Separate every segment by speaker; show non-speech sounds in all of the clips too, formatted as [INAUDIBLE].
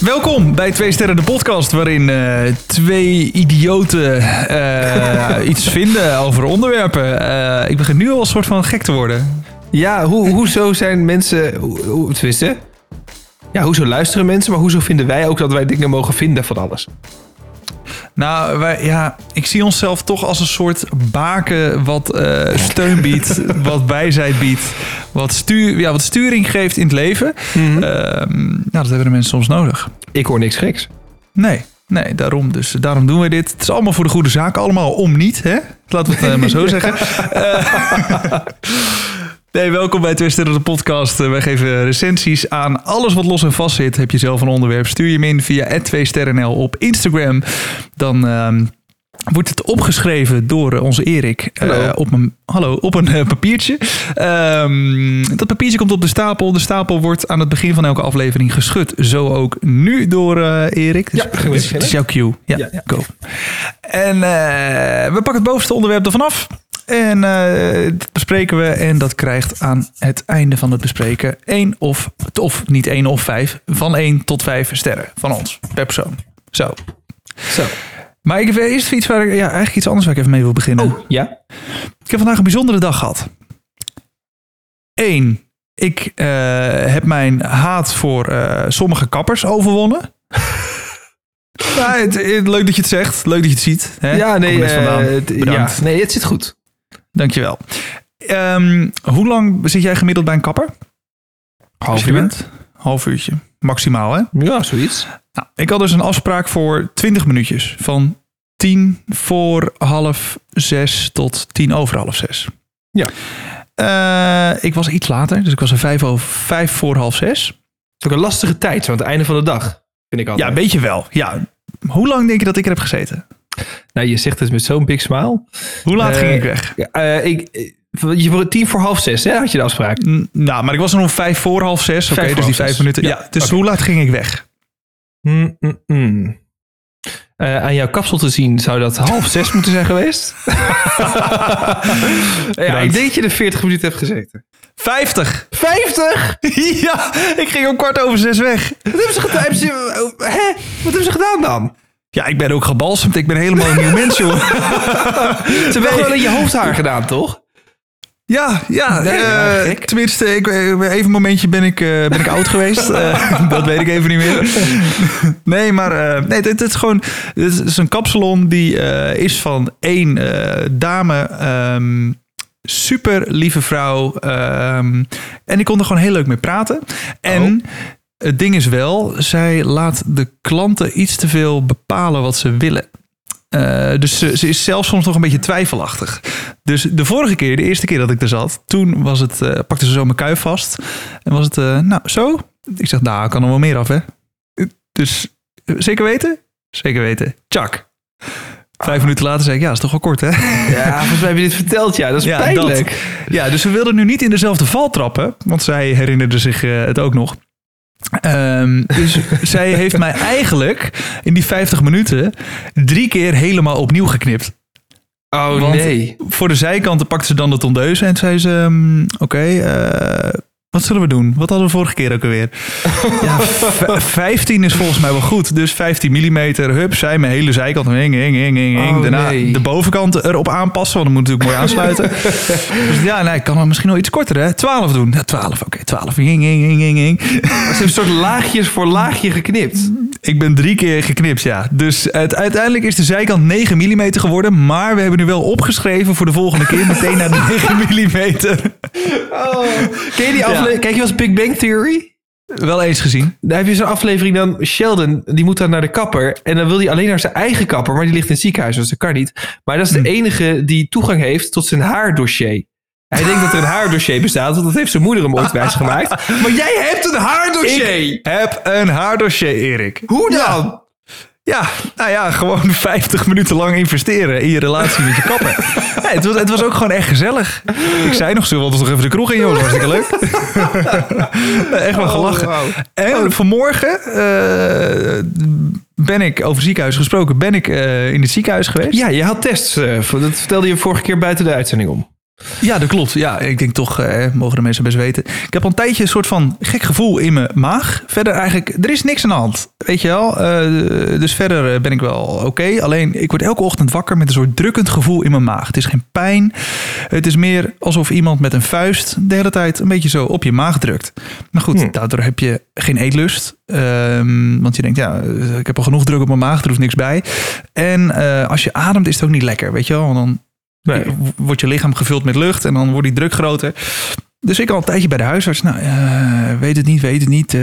Speaker 1: Welkom bij Twee Sterren, de podcast waarin eh, twee idioten eh, [LAUGHS] iets vinden over onderwerpen. Eh, ik begin nu al een soort van gek te worden.
Speaker 2: Ja, hoe, hoezo zijn mensen... Hoe, hoe, tenminste, ja, hoezo luisteren mensen, maar hoezo vinden wij ook dat wij dingen mogen vinden van alles?
Speaker 1: Nou, wij, ja, ik zie onszelf toch als een soort baken wat eh, steun biedt, wat bijzijd biedt, wat, stuur, ja, wat sturing geeft in het leven. Ehm, nou, dat hebben de mensen soms nodig.
Speaker 2: Eh, Ik hoor niks geks.
Speaker 1: Nee, nee, daarom. Dus daarom doen we dit. Het is allemaal voor de goede zaak. Allemaal om niet, hè? Laten we het eh, maar zo zeggen. Eh, [LAUGHS] nee, welkom bij Twister de podcast. Eh, wij geven recensies aan alles wat los en vast zit. Heb je zelf een onderwerp, stuur je hem in via 2sterrenl op Instagram. Dan... ehm, Wordt het opgeschreven door eh, onze Erik eh,
Speaker 2: Hallo.
Speaker 1: op een, hallo, op een eh, papiertje. Ehm, dat papiertje komt op de stapel. De stapel wordt aan het begin van elke aflevering geschud. Zo ook nu door eh, Erik.
Speaker 2: Ja, gaan we
Speaker 1: het, het is jouw cue. Ja,
Speaker 2: Ja, ja.
Speaker 1: go. En eh, we pakken het bovenste onderwerp ervan af. En eh dat bespreken we. En dat krijgt aan het einde van het bespreken één of, of niet één of vijf, van één tot vijf sterren van ons per persoon. Zo.
Speaker 2: Zo.
Speaker 1: Maar ik heb eerst iets waar ik, ja, eigenlijk iets anders waar ik even mee wil beginnen.
Speaker 2: Oh. Ja?
Speaker 1: Ik heb vandaag een bijzondere dag gehad. Eén, ik eh, heb mijn haat voor eh, sommige kappers
Speaker 2: [LAUGHS]
Speaker 1: overwonnen. ja, het, het- leuk dat je het zegt, leuk dat je het ziet. Hè?
Speaker 2: Ja, nee,
Speaker 1: Compliment vandaan.
Speaker 2: eh, het-
Speaker 1: Bedankt.
Speaker 2: ja, nee, het zit goed.
Speaker 1: Dankjewel. Ehm, hoe lang zit jij gemiddeld bij een kapper? Als je
Speaker 2: uur.
Speaker 1: bent? Half uurtje, maximaal hè?
Speaker 2: Ja, zoiets.
Speaker 1: Nou, ik had dus een afspraak voor 20 minuutjes. Van 10 voor half 6 tot 10 over half 6.
Speaker 2: Ja.
Speaker 1: Eh, ik was iets later, dus ik was er 5 over, vijf voor half 6.
Speaker 2: Het is ook een lastige tijd, zo aan het einde van de dag, vind ik altijd.
Speaker 1: Ja, weet je wel. Ja. Hoe lang denk je dat ik er heb gezeten?
Speaker 2: nou, je zegt het met zo'n big smile.
Speaker 1: Hoe laat
Speaker 2: Eh,
Speaker 1: ging ik weg?
Speaker 2: Ja, eh, ik, eh, je wordt tien voor half zes, hè, had je de afspraak.
Speaker 1: N- nou, maar ik was er om 5 voor half 6. Oké,
Speaker 2: Vijf voor
Speaker 1: dus die
Speaker 2: half
Speaker 1: 5
Speaker 2: zes.
Speaker 1: minuten. Ja,
Speaker 2: Ja,
Speaker 1: dus
Speaker 2: oké.
Speaker 1: hoe laat ging ik weg?
Speaker 2: Mm, mm, mm. Eh, aan jouw kapsel te zien zou dat half zes moeten zijn geweest. [LAUGHS] ja, ik denk dat je er 40 minuten hebt gezeten.
Speaker 1: 50.
Speaker 2: 50?
Speaker 1: [LAUGHS] ja, ik ging om kwart over 6 weg.
Speaker 2: Wat hebben ze gedaan? Hebben ze- eh, hè? Wat hebben ze gedaan dan?
Speaker 1: Ja, ik ben ook gebalsemd. Ik ben helemaal een
Speaker 2: [LAUGHS]
Speaker 1: nieuw mens, joh.
Speaker 2: Ze hebben gewoon in je hoofdhaar gedaan, toch?
Speaker 1: Ja, ja.
Speaker 2: Nee, nou,
Speaker 1: eh,
Speaker 2: gek.
Speaker 1: tenminste, ik, eh, even een momentje ben ik, eh, ben ik
Speaker 2: [LAUGHS]
Speaker 1: oud geweest. Eh, dat weet ik even niet meer. [LAUGHS] nee, maar eh, nee, dit, dit is gewoon dit is een kapsalon die eh, is van één eh, dame. ehm, super lieve vrouw. ehm, en ik kon er gewoon heel leuk mee praten. En
Speaker 2: Oh.
Speaker 1: het ding is wel, zij laat de klanten iets te veel bepalen wat ze willen. Eh, dus ze, ze is zelfs soms nog een beetje twijfelachtig. Dus de vorige keer, de eerste keer dat ik er zat, toen was het, eh, pakte ze zo mijn kuif vast. En was het, eh, nou, zo? Ik zeg, nou, kan er wel meer af, hè? Eh, Dus eh, zeker weten? Zeker weten. Tjak. Vijf minuten later zei ik, ja, is toch wel kort, hè?
Speaker 2: Ja, volgens mij heb je dit verteld, ja. Dat is pijnlijk.
Speaker 1: dat. Ja, dus we wilden nu niet in dezelfde val trappen, want zij herinnerde zich eh, het ook nog. Ehm, dus zij heeft mij eigenlijk in die 50 minuten drie keer helemaal opnieuw geknipt.
Speaker 2: Oh
Speaker 1: Want-
Speaker 2: nee.
Speaker 1: Voor de zijkanten pakte ze dan de tondeuze en zei ze: ehm, Oké, eh, wat zullen we doen? Wat hadden we vorige keer ook
Speaker 2: [LAUGHS]
Speaker 1: alweer? ja, v- 15 is volgens mij wel goed. Dus 15 mm, hup, zij mijn hele zijkant. Hing, hing, hing, hing, hing.
Speaker 2: Oh,
Speaker 1: Daarna
Speaker 2: nee.
Speaker 1: de bovenkant erop aanpassen, want dat moet
Speaker 2: [LAUGHS]
Speaker 1: natuurlijk mooi aansluiten. dus ja, nee, ik kan er misschien nog iets korter, hè? 12 doen. Ja, 12, oké, 12. Hing, hing, hing, hing, hing.
Speaker 2: Ze hebben een soort laagjes voor laagje geknipt.
Speaker 1: Ik ben drie keer geknipt, ja. Dus het, uiteindelijk is de zijkant 9 mm geworden. Maar we hebben nu wel opgeschreven voor de volgende keer meteen naar de 9 mm.
Speaker 2: Ken je die aflevering? Kijk je wel eens Big Bang Theory?
Speaker 1: Wel eens gezien.
Speaker 2: Daar heb je zo'n aflevering dan. Sheldon, die moet dan naar de kapper. En dan wil hij alleen naar zijn eigen kapper. Maar die ligt in het ziekenhuis, dus dat kan niet. Maar dat is de enige die toegang heeft tot zijn haardossier. Hij denkt [LAUGHS] dat er een haardossier bestaat, want dat heeft zijn moeder hem ooit wijsgemaakt. Maar jij hebt een haardossier!
Speaker 1: Heb een haardossier, Erik.
Speaker 2: Hoe dan?
Speaker 1: Ja, nou ja, gewoon [LAUGHS] 50 minuten lang investeren in je relatie met je kapper. Nee, het, was, het was ook gewoon echt gezellig. Ik zei nog, zullen we ons nog even de kroeg in, joh? Dat was hartstikke leuk. [LAUGHS] Nee, echt wel gelachen.
Speaker 2: Oh, wow.
Speaker 1: En vanmorgen eh, ben ik, over ziekenhuis gesproken, ben ik eh, in het ziekenhuis geweest.
Speaker 2: Ja, je had tests. eh, voor- dat vertelde je vorige keer buiten de uitzending om.
Speaker 1: Ja, dat klopt. Ja, ik denk toch, eh, mogen de mensen best weten. Ik heb al een tijdje een soort van gek gevoel in mijn maag. Verder eigenlijk, er is niks aan de hand. Weet je wel? Eh, dus verder eh, ben ik wel oké. Alleen, ik word elke ochtend wakker met een soort drukkend gevoel in mijn maag. Het is geen pijn. Het is meer alsof iemand met een vuist de hele tijd een beetje zo op je maag drukt. Maar goed,
Speaker 2: Hm.
Speaker 1: daardoor heb je geen eetlust. Ehm, want je denkt, ja, ik heb al genoeg druk op mijn maag. Er hoeft niks bij. En eh, als je ademt is het ook niet lekker, weet je wel? Want dan
Speaker 2: Nee.
Speaker 1: wordt je lichaam gevuld met lucht en dan wordt die druk groter. Dus ik al een tijdje bij de huisarts. Nou, eh, weet het niet, weet het niet. eh,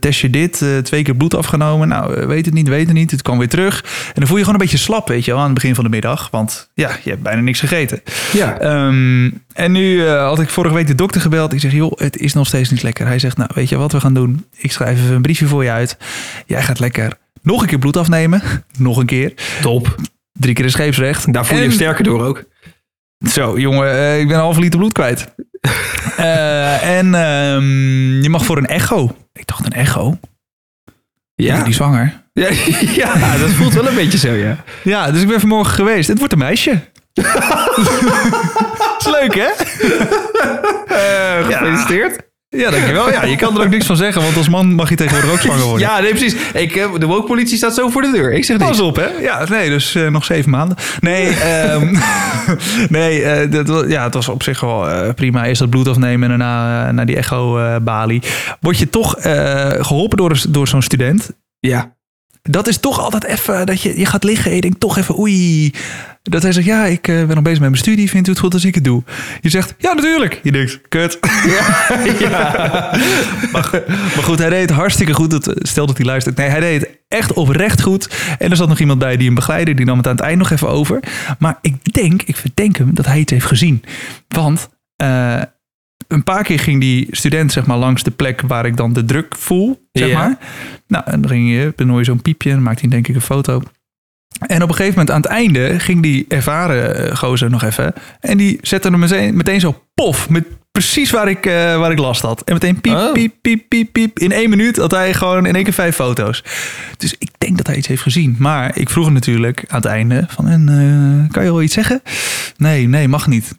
Speaker 1: test je dit, eh, twee keer bloed afgenomen. Nou, eh, weet het niet, weet het niet. Het kwam weer terug. En dan voel je gewoon een beetje slap, weet je wel, aan het begin van de middag. Want ja, je hebt bijna niks gegeten.
Speaker 2: Ja.
Speaker 1: Ehm, en nu eh, had ik vorige week de dokter gebeld. Ik zeg, joh, het is nog steeds niet lekker. Hij zegt, nou, weet je wat we gaan doen? Ik schrijf even een briefje voor je uit. Jij gaat lekker nog een keer bloed afnemen. [LAUGHS] nog een keer.
Speaker 2: Top.
Speaker 1: Drie keer een scheepsrecht.
Speaker 2: Daar voel je
Speaker 1: En-
Speaker 2: je sterker door ook.
Speaker 1: zo, jongen, eh, ik ben een halve liter bloed kwijt. [LAUGHS] Eh, en ehm, je mag voor een echo. Ik dacht, een echo? Ja.
Speaker 2: Ja.
Speaker 1: Die zwanger.
Speaker 2: Ja, [LAUGHS] ja, dat voelt wel een beetje zo, ja.
Speaker 1: Ja, dus ik ben vanmorgen geweest. Het wordt een [LAUGHS] meisje. is leuk, hè? Eh,
Speaker 2: Gefeliciteerd.
Speaker 1: Ja, dankjewel. Ja, je kan er ook niks van zeggen, want als man mag je tegenwoordig ook zwanger worden.
Speaker 2: Ja, nee, precies. Ik, eh, de woke-politie staat zo voor de deur. Ik zeg niks.
Speaker 1: Pas op, hè? Ja, nee, dus eh, nog zeven maanden. Nee, ehm, [LAUGHS] nee eh, dat, wa- ja, het was op zich wel eh, prima. Eerst dat bloed afnemen en daarna eh, naar die echo-balie. Word je toch eh, geholpen door, een- door zo'n student?
Speaker 2: Ja.
Speaker 1: Dat is toch altijd even dat je, je gaat liggen en je denkt toch even oei. Dat hij zegt, ja, ik eh, ben nog bezig met mijn studie. Vindt u het goed als ik het doe? Je zegt, ja, natuurlijk. Je denkt, kut. [LAUGHS] Maar goed, hij deed het hartstikke goed. Dat, eh, stel dat hij luistert. Nee, hij deed het echt oprecht goed. En er zat nog iemand bij die hem begeleidde. Die nam het aan het eind nog even over. Maar ik denk, ik verdenk hem dat hij het heeft gezien. Want eh, een paar keer ging die student zeg maar, langs de plek waar ik dan de druk voel. Zeg
Speaker 2: Ja.
Speaker 1: maar. Nou, en dan ging je, dan hoor je zo'n piepje. En dan maakte hij denk ik een foto. En op een gegeven moment aan het einde ging die ervaren eh, gozer nog even. En die zette hem meteen, meteen zo pof. Met precies waar ik, eh, waar ik last had. En meteen piep,
Speaker 2: Oh.
Speaker 1: piep, piep, piep, piep. In één minuut had hij gewoon in één keer vijf foto's. Dus ik denk dat hij iets heeft gezien. Maar ik vroeg hem natuurlijk aan het einde van... En, eh, kan je wel iets zeggen? Nee, nee, mag niet.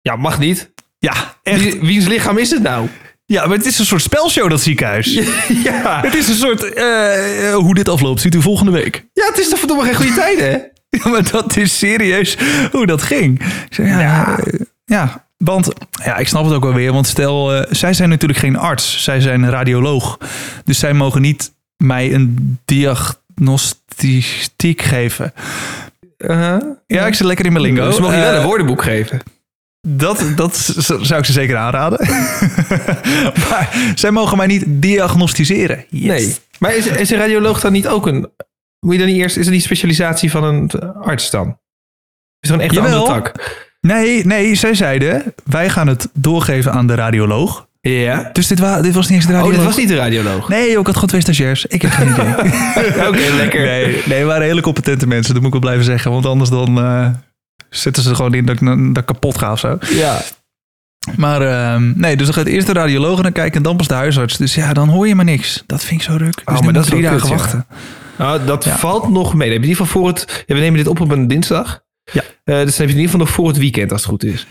Speaker 2: Ja, mag niet.
Speaker 1: Ja, echt.
Speaker 2: Wie, wiens lichaam is het nou?
Speaker 1: Ja, maar het is een soort spelshow, dat ziekenhuis.
Speaker 2: [LAUGHS] Ja.
Speaker 1: Het is een soort... eh, eh, hoe dit afloopt, ziet u volgende week. [LAUGHS]
Speaker 2: Ja, het is toch verdomme geen goede tijd, hè?
Speaker 1: Ja, maar dat is serieus hoe dat ging. Ik zei, ja,
Speaker 2: Ja.
Speaker 1: eh, ja, want ja, ik snap het ook wel weer. Want stel, eh, zij zijn natuurlijk geen arts. Zij zijn radioloog. Dus zij mogen niet mij een diagnostiek geven. Ja, ik zit lekker in mijn lingo.
Speaker 2: Ze mogen Uh-huh. Dus je wel
Speaker 1: Eh,
Speaker 2: een woordenboek geven.
Speaker 1: dat, dat z- zou ik ze zeker aanraden. [LAUGHS] maar zij mogen mij niet diagnosticeren. Yes.
Speaker 2: Nee. Maar is, is een radioloog dan niet ook een... Moet je dan niet eerst... Is er niet specialisatie van een arts dan? Is er een echt
Speaker 1: Jawel.
Speaker 2: andere tak?
Speaker 1: Nee, nee, zij zeiden, wij gaan het doorgeven aan de radioloog.
Speaker 2: Ja.
Speaker 1: Dus dit, wa- dit was niet eens de
Speaker 2: Oh,
Speaker 1: radioloog.
Speaker 2: dit was niet een radioloog.
Speaker 1: Nee, joh, ik had gewoon twee stagiairs. Ik heb geen idee.
Speaker 2: [LAUGHS] Oké, lekker.
Speaker 1: Nee, nee, we waren hele competente mensen. Dat moet ik wel blijven zeggen. Want anders dan eh, zetten ze er gewoon in dat ik, dat ik kapot ga of zo.
Speaker 2: Ja.
Speaker 1: Maar ehm, nee, dus dan gaat eerst de radioloog en dan kijken en dan pas de huisarts. Dus ja, dan hoor je maar niks. Dat vind ik zo ruk. Dus
Speaker 2: Oh, maar
Speaker 1: nu
Speaker 2: dat
Speaker 1: moet
Speaker 2: is
Speaker 1: drie
Speaker 2: wel
Speaker 1: dagen
Speaker 2: kut, ja.
Speaker 1: wachten.
Speaker 2: Nou, dat
Speaker 1: Ja.
Speaker 2: valt nog mee. Dan heb je in ieder geval voor het... Ja, we nemen dit op op een dinsdag.
Speaker 1: Ja.
Speaker 2: Eh, dus dan heb je in ieder geval nog voor het weekend, als het goed is.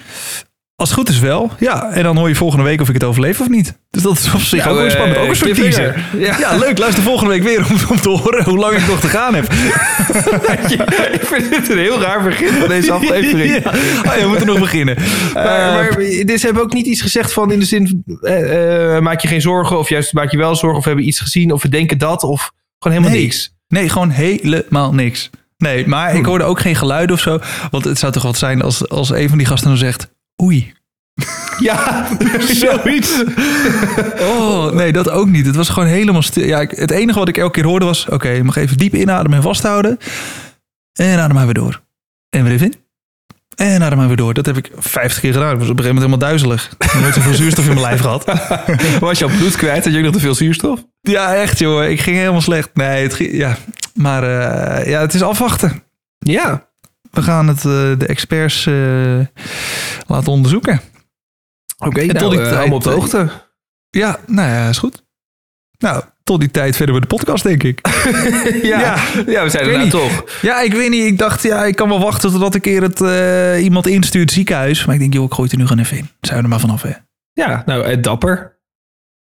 Speaker 1: Als het goed is wel. Ja, en dan hoor je volgende week of ik het overleef of niet. Dus dat is op zich ook wel
Speaker 2: eh,
Speaker 1: spannend. Ook een soort
Speaker 2: cliffhanger.
Speaker 1: teaser.
Speaker 2: Ja.
Speaker 1: Ja, leuk. Luister volgende week weer om, om te horen hoe lang ik nog te gaan heb.
Speaker 2: ik vind het een heel raar begin van [LAUGHS]
Speaker 1: [LAUGHS]
Speaker 2: deze aflevering.
Speaker 1: Ja. Ah, ja, we moeten nog beginnen.
Speaker 2: Maar,
Speaker 1: Eh,
Speaker 2: maar dit- ze hebben ook niet iets gezegd van in de zin, eh, eh, maak je geen zorgen of juist maak je wel zorgen of we hebben iets gezien of we denken dat of gewoon helemaal
Speaker 1: Nee.
Speaker 2: niks.
Speaker 1: Nee, gewoon helemaal niks. Nee, maar ik hoorde ook geen geluiden of zo. Want het zou toch wat zijn als, als een van die gasten dan zegt... Oei.
Speaker 2: Ja, [LAUGHS] zoiets.
Speaker 1: Oh, nee, dat ook niet. Het was gewoon helemaal stil. Ja, ik- het enige wat ik elke keer hoorde was... Oké, je mag even diep inademen en vasthouden. En adem maar weer door. En weer even in. En adem maar weer door. Dat heb ik vijftig keer gedaan. Ik was op een gegeven moment helemaal duizelig. Ik heb nooit zoveel zuurstof in mijn lijf
Speaker 2: [LAUGHS]
Speaker 1: gehad.
Speaker 2: Was je al bloed kwijt? Had je ook nog te veel zuurstof?
Speaker 1: Ja, echt joh. Ik ging helemaal slecht. Nee, het ging- ja. Maar eh, ja, het is afwachten.
Speaker 2: Ja.
Speaker 1: We gaan het eh, de experts eh, laten onderzoeken.
Speaker 2: Oké,
Speaker 1: En
Speaker 2: nou,
Speaker 1: tot die
Speaker 2: eh,
Speaker 1: tijd,
Speaker 2: hou me op de
Speaker 1: eh,
Speaker 2: hoogte.
Speaker 1: Ja, nou ja, is goed. Nou, Tot die tijd verder met de podcast, denk
Speaker 2: [LAUGHS]
Speaker 1: ik.
Speaker 2: [LAUGHS] Ja, ja.
Speaker 1: Ja.
Speaker 2: we zijn
Speaker 1: Ik
Speaker 2: er
Speaker 1: weet
Speaker 2: nou
Speaker 1: niet.
Speaker 2: toch.
Speaker 1: Ja, ik weet niet. Ik dacht, ja, ik kan wel wachten totdat een keer het, eh, iemand instuurt het ziekenhuis. Maar ik denk, joh, ik gooi het er nu gewoon even in. Zijn we er maar vanaf, hè.
Speaker 2: Ja, nou, eh, dapper.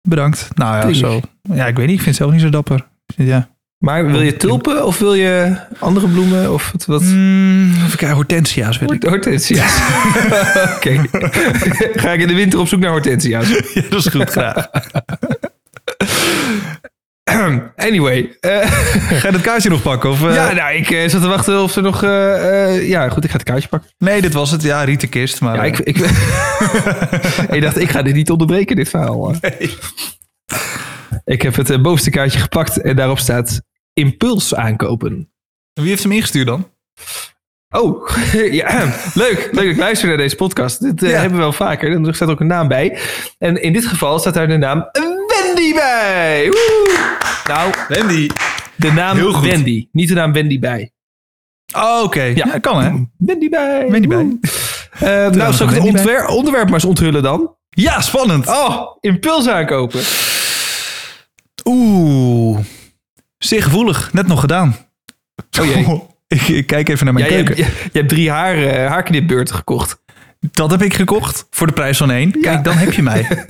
Speaker 1: Bedankt. Nou ja,
Speaker 2: Tuurlijk.
Speaker 1: zo. Ja, ik weet niet. Ik vind het zelf niet zo dapper. Ik vind, Ja.
Speaker 2: Maar wil je tulpen of wil je andere bloemen? Of wat? wat? Hmm,
Speaker 1: Mm, even kijken, hortensia's wil ik.
Speaker 2: Hortensia's. [LAUGHS] Oké. [LAUGHS] Ga ik in de winter op zoek naar hortensia's.
Speaker 1: [LAUGHS] Ja, dat is goed, graag.
Speaker 2: [CLEARS THROAT] Anyway. eh,
Speaker 1: Ga je dat kaartje nog pakken? Of, eh,
Speaker 2: ja, nou, ik eh, zat te wachten of ze nog... eh, eh, ja, goed, ik ga het kaartje pakken.
Speaker 1: Nee, dit was het. Ja, Rietenkist. Maar,
Speaker 2: Ja,
Speaker 1: eh,
Speaker 2: ik, ik, [LAUGHS] ik dacht, ik ga dit niet onderbreken, dit verhaal. Ik heb het eh, bovenste kaartje gepakt en daarop staat impuls aankopen.
Speaker 1: Wie heeft hem ingestuurd dan?
Speaker 2: Oh, [LAUGHS] ja, [CLEARS THROAT] leuk. Leuk, ik luister naar deze podcast. Dit eh,
Speaker 1: Ja.
Speaker 2: hebben we wel vaker. Er staat ook een naam bij. En in dit geval staat daar de naam Wendy bij. Woe! Nou,
Speaker 1: Wendy.
Speaker 2: de naam
Speaker 1: Heel goed.
Speaker 2: Wendy. Niet de naam Wendy bij.
Speaker 1: Oh, oké. Ja. kan hè.
Speaker 2: Wendy bij.
Speaker 1: Wendy bij.
Speaker 2: Woe. Eh, nou,
Speaker 1: naam
Speaker 2: zal ik het
Speaker 1: Wendy bij.
Speaker 2: ontwer- onderwerp maar eens onthullen dan?
Speaker 1: Ja, spannend.
Speaker 2: Oh, impuls aankopen.
Speaker 1: Oeh. Zeer gevoelig. Net nog gedaan.
Speaker 2: Oh jee.
Speaker 1: [LAUGHS] ik, ik kijk even naar mijn
Speaker 2: Ja, je, hebt,
Speaker 1: keuken.
Speaker 2: je, je hebt drie haar, eh, haarknipbeurten gekocht.
Speaker 1: Dat heb ik gekocht voor de prijs van één. Kijk, dan heb je mij.
Speaker 2: [LAUGHS]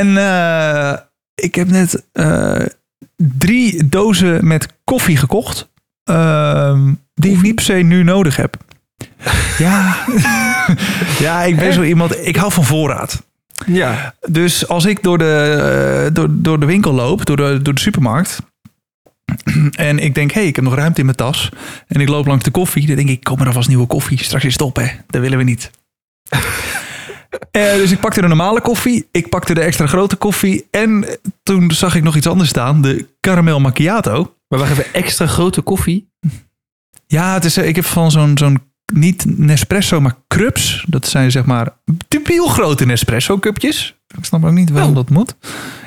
Speaker 1: en eh, ik heb net eh, drie dozen met koffie gekocht. ehm, die ik niet per se nu nodig heb. ja.
Speaker 2: [LAUGHS]
Speaker 1: [LAUGHS] ja, ik ben zo iemand. Ik hou van voorraad.
Speaker 2: Ja.
Speaker 1: Dus als ik door de, eh, door, door de winkel loop, door de, door de supermarkt. [CLEARS THROAT] En ik denk, hé, hey, ik heb nog ruimte in mijn tas. En ik loop langs de koffie. Dan denk ik, kom maar alvast nieuwe koffie. Straks is het op, hè. Dat willen we niet. Eh, dus ik pakte de normale koffie. Ik pakte de extra grote koffie. En toen zag ik nog iets anders staan. De caramel macchiato.
Speaker 2: Maar we even, extra grote koffie?
Speaker 1: Ja, het is, eh, ik heb van zo'n, zo'n niet Nespresso, maar Crups. Dat zijn zeg maar debiel grote Nespresso cupjes. Ik snap ook niet waarom
Speaker 2: Oh.
Speaker 1: dat moet.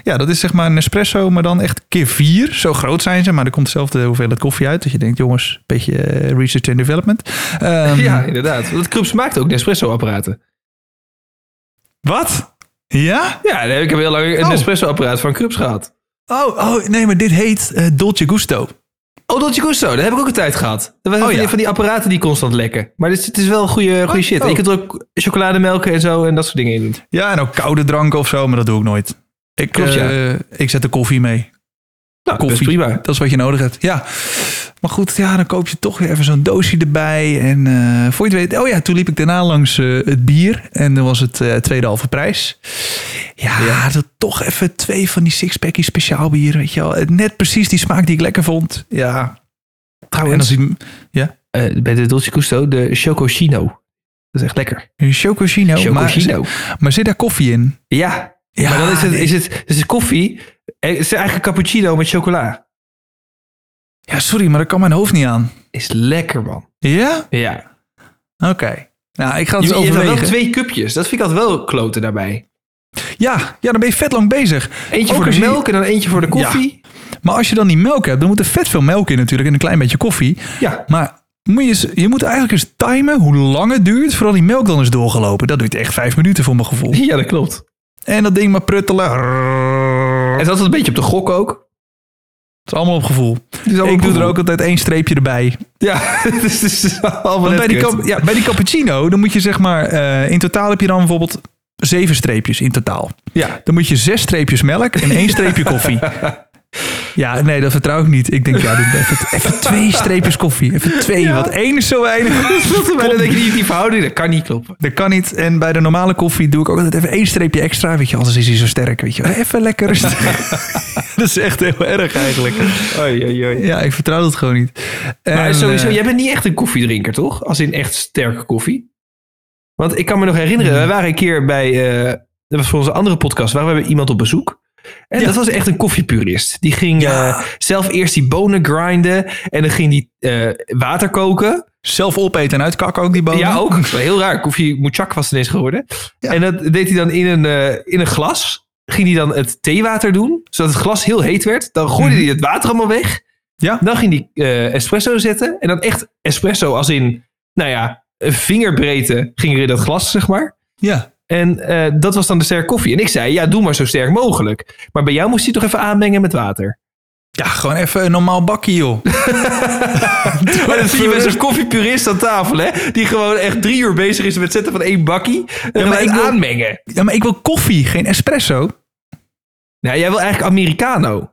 Speaker 1: Ja, dat is zeg maar Nespresso, maar dan echt keer vier. Zo groot zijn ze, maar er komt dezelfde hoeveelheid koffie uit. Dat je denkt, jongens, een beetje eh, research and development. Ehm,
Speaker 2: [LAUGHS] ja, inderdaad. Want Krups maakt ook Nespresso-apparaten.
Speaker 1: Wat? Ja?
Speaker 2: Ja, nee, ik heb heel lang een
Speaker 1: Oh.
Speaker 2: Nespresso-apparaat van Krups gehad.
Speaker 1: Oh, oh, nee, maar dit heet eh, Dolce Gusto.
Speaker 2: Oh, Dolce Gusto, dat heb ik ook een tijd gehad. Dat was
Speaker 1: Oh,
Speaker 2: van, die,
Speaker 1: ja.
Speaker 2: van die apparaten die constant lekken. Maar dit, is- het is wel goede, goede shit.
Speaker 1: oh.
Speaker 2: Je kunt er ook chocolademelken en zo en dat soort dingen in doen.
Speaker 1: Ja, en ook koude dranken of zo, maar dat doe ik nooit. Ik,
Speaker 2: Klopt, ja.
Speaker 1: eh, ik zet de koffie mee.
Speaker 2: Nou,
Speaker 1: Koffie.
Speaker 2: dat is prima.
Speaker 1: Dat is wat je nodig hebt. Ja. Maar goed, ja, dan koop je toch weer even zo'n doosje erbij. En eh, voor je het weet, oh ja, toen liep ik daarna langs eh, het bier. En dan was het eh, tweede halve prijs. Ja, dat toch even twee van die sixpackies speciaal bier. Weet je wel. Eh, Net precies die smaak die ik lekker vond. Ja. En
Speaker 2: Trouwens,
Speaker 1: als die
Speaker 2: eh, bij de Dolce Gusto, de Chococino. Dat is echt lekker.
Speaker 1: Chococino. Maar,
Speaker 2: Chococino.
Speaker 1: maar zit daar koffie in?
Speaker 2: Oh, Ja.
Speaker 1: Ja,
Speaker 2: maar dan is het,
Speaker 1: nee.
Speaker 2: is het, is het koffie. eh, Het is eigenlijk een cappuccino met chocola.
Speaker 1: Ja, sorry, maar daar kan mijn hoofd niet aan.
Speaker 2: Is lekker, man.
Speaker 1: Ja?
Speaker 2: Ja.
Speaker 1: Oké. Nou, ik ga het eens
Speaker 2: je, je hebt dan wel
Speaker 1: overwegen.
Speaker 2: twee cupjes. Dat vind ik altijd wel kloten daarbij.
Speaker 1: Ja, ja, dan ben je vet lang bezig.
Speaker 2: Eentje
Speaker 1: Ook
Speaker 2: voor
Speaker 1: als
Speaker 2: de
Speaker 1: je-
Speaker 2: melk en dan eentje voor de koffie.
Speaker 1: Maar als je dan die melk hebt, dan moet er vet veel melk in natuurlijk en een klein beetje koffie.
Speaker 2: Ja.
Speaker 1: Maar moet je, eens- je moet eigenlijk eens timen hoe lang het duurt voordat die melk dan is doorgelopen. Dat duurt echt vijf minuten voor mijn gevoel.
Speaker 2: [LAUGHS] Ja, dat klopt.
Speaker 1: En dat ding maar pruttelen.
Speaker 2: En
Speaker 1: Het
Speaker 2: dat is een beetje op de gok ook.
Speaker 1: is allemaal op gevoel. ik doe er ook altijd één streepje erbij.
Speaker 2: Ja, [LAUGHS] het is, het is allemaal
Speaker 1: Want
Speaker 2: net
Speaker 1: bij die,
Speaker 2: kut.
Speaker 1: kap- ja, bij die cappuccino, dan moet je zeg maar... eh, in totaal heb je dan bijvoorbeeld zeven streepjes in totaal.
Speaker 2: [LAUGHS] ja.
Speaker 1: Dan moet je zes streepjes melk en één streepje koffie. Ja, nee, dat vertrouw ik niet. Ik denk, ja, doe even, even twee streepjes koffie. Even twee,
Speaker 2: Ja.
Speaker 1: want één is zo weinig.
Speaker 2: Maar dan denk je, die, die verhouding, dat kan niet [LAUGHS] kloppen.
Speaker 1: Dat kan niet. En bij de normale koffie doe ik ook altijd even één streepje extra. Weet je, anders is hij zo sterk. Weet je, wel. even lekker
Speaker 2: [LAUGHS]
Speaker 1: rustig. dat is echt heel erg eigenlijk.
Speaker 2: Oei, oei, oei.
Speaker 1: Ja, ik vertrouw dat gewoon niet.
Speaker 2: Maar
Speaker 1: En,
Speaker 2: sowieso,
Speaker 1: eh,
Speaker 2: jij bent niet echt een koffiedrinker, toch? Als in echt sterke koffie. Want ik kan me nog herinneren,
Speaker 1: Mhm.
Speaker 2: we waren een keer bij, eh, dat was voor onze andere podcast, waar we bij iemand op bezoek. En
Speaker 1: Ja.
Speaker 2: dat was echt een koffiepurist. Die ging
Speaker 1: Ja.
Speaker 2: eh, zelf eerst die bonen grinden en dan ging die eh, water koken.
Speaker 1: zelf opeten en uitkakken ook die bonen.
Speaker 2: Ja, ook. Heel raar. Koffie moechak was het ineens geworden.
Speaker 1: Ja.
Speaker 2: En dat deed hij dan in een, eh, in een glas. Ging hij dan het theewater doen, zodat het glas heel heet werd. Dan gooide
Speaker 1: Mhm.
Speaker 2: hij het water allemaal weg.
Speaker 1: Ja.
Speaker 2: Dan ging hij eh, espresso zetten. En dan echt espresso als in, nou ja, een vingerbreedte ging er in dat glas, zeg maar.
Speaker 1: Ja.
Speaker 2: En eh, dat was dan de sterk koffie. En ik zei, ja, doe maar zo sterk mogelijk. Maar bij jou moest hij toch even aanmengen met
Speaker 1: [LAUGHS]
Speaker 2: water.
Speaker 1: Ja, gewoon even een normaal bakkie, joh.
Speaker 2: Maar dat zie je bij zo'n koffiepurist aan tafel, hè? Die gewoon echt drie uur bezig is met zetten van één bakkie. En
Speaker 1: maar
Speaker 2: ja,
Speaker 1: ik wil-
Speaker 2: aanmengen.
Speaker 1: Ja, maar ik wil koffie, geen espresso.
Speaker 2: Nou, jij wil eigenlijk Americano.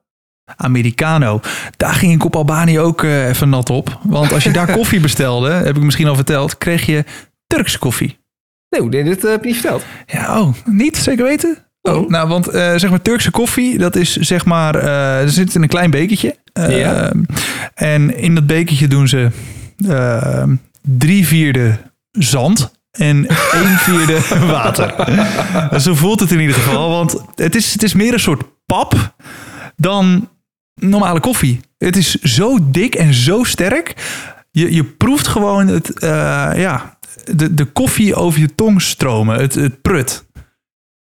Speaker 1: Americano. Daar ging ik op Albanië ook eh, even nat op. Want als je
Speaker 2: [LAUGHS]
Speaker 1: daar koffie bestelde, heb ik misschien al verteld, kreeg je Turkse koffie.
Speaker 2: Nee, nee, dit eh, heb je niet verteld.
Speaker 1: Ja, oh, niet? Zeker weten?
Speaker 2: Oh.
Speaker 1: Nou, want eh, zeg maar Turkse koffie, dat is zeg maar, eh, er zit in een klein bekertje. Eh,
Speaker 2: Ja.
Speaker 1: En in dat bekertje doen ze eh, drie vierde zand en één
Speaker 2: [LAUGHS]
Speaker 1: vierde water. Eh, Zo voelt het in ieder geval, want het is, het is meer een soort pap dan normale koffie. Het is zo dik en zo sterk. Je, je proeft gewoon het, eh, ja, de, de koffie over je tong stromen. Het, het prut.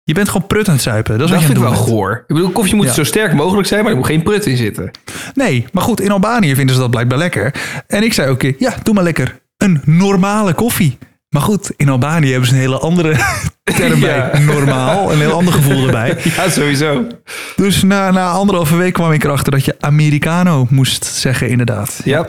Speaker 1: Je bent gewoon prut aan het zuipen. Dat, is
Speaker 2: Dat
Speaker 1: wat
Speaker 2: vind ik
Speaker 1: je aan
Speaker 2: wel
Speaker 1: het doen
Speaker 2: goor. Ik bedoel, koffie moet
Speaker 1: Ja.
Speaker 2: zo sterk mogelijk zijn, maar er moet geen prut in
Speaker 1: [LAUGHS]
Speaker 2: zitten.
Speaker 1: bent. Nee, maar goed, in Albanië vinden ze dat blijkbaar lekker. En ik zei ook, keer, ja, doe maar lekker een normale koffie. Maar goed, in Albanië hebben ze een hele andere [LAUGHS] term bij
Speaker 2: Ja.
Speaker 1: normaal. Een heel ander gevoel
Speaker 2: [LAUGHS]
Speaker 1: erbij.
Speaker 2: Ja, sowieso.
Speaker 1: Dus na, na anderhalve week kwam ik erachter dat je Americano moest zeggen, inderdaad.
Speaker 2: Ja.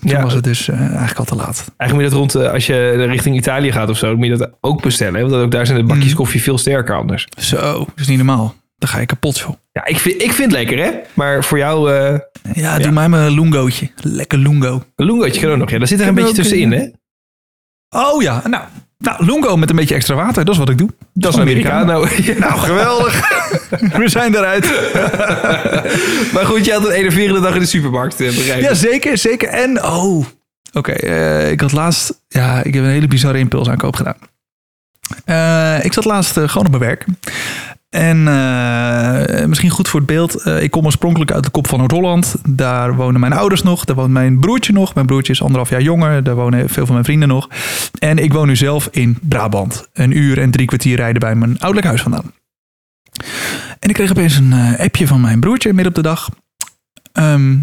Speaker 1: Toen
Speaker 2: Ja.
Speaker 1: was het dus eh, eigenlijk al te laat.
Speaker 2: Eigenlijk moet je dat rond, eh, als je richting Italië gaat of zo, moet je dat ook bestellen. hè? Want ook daar zijn de
Speaker 1: Mhm.
Speaker 2: bakjes koffie veel sterker anders.
Speaker 1: Zo, dat is Dus niet normaal. Dan ga ik kapot, joh.
Speaker 2: Ja, ik vind, ik vind het lekker, hè? Maar voor jou, eh
Speaker 1: Ja, doe mij maar een lungootje. Lekker lungo.
Speaker 2: een lungootje kan ook nog. Ja, daar zit er een
Speaker 1: Kunnen
Speaker 2: beetje
Speaker 1: we ook,
Speaker 2: tussenin, hè?
Speaker 1: Oh ja, nou, nou lungo met een beetje extra water. Dat is wat ik doe.
Speaker 2: Dat is een Americano.
Speaker 1: [LAUGHS]
Speaker 2: Ja.
Speaker 1: Nou, geweldig. We zijn eruit.
Speaker 2: Maar goed, je had een enerverende dag in de supermarkt, eh, begrijp ik.
Speaker 1: Ja, zeker, zeker. En, oh. Oké, eh, ik had laatst... Ja, ik heb een hele bizarre impulsaankoop gedaan. Eh, ik zat laatst eh, gewoon op mijn werk. En eh, misschien goed voor het beeld. eh, ik kom oorspronkelijk uit de kop van Noord-Holland. Daar wonen mijn ouders nog. Daar woont mijn broertje nog. Mijn broertje is anderhalf jaar jonger. Daar wonen veel van mijn vrienden nog. En ik woon nu zelf in Brabant. Een uur en drie kwartier rijden bij mijn ouderlijk huis vandaan. En ik kreeg opeens een eh, appje van mijn broertje midden op de dag. Ehm,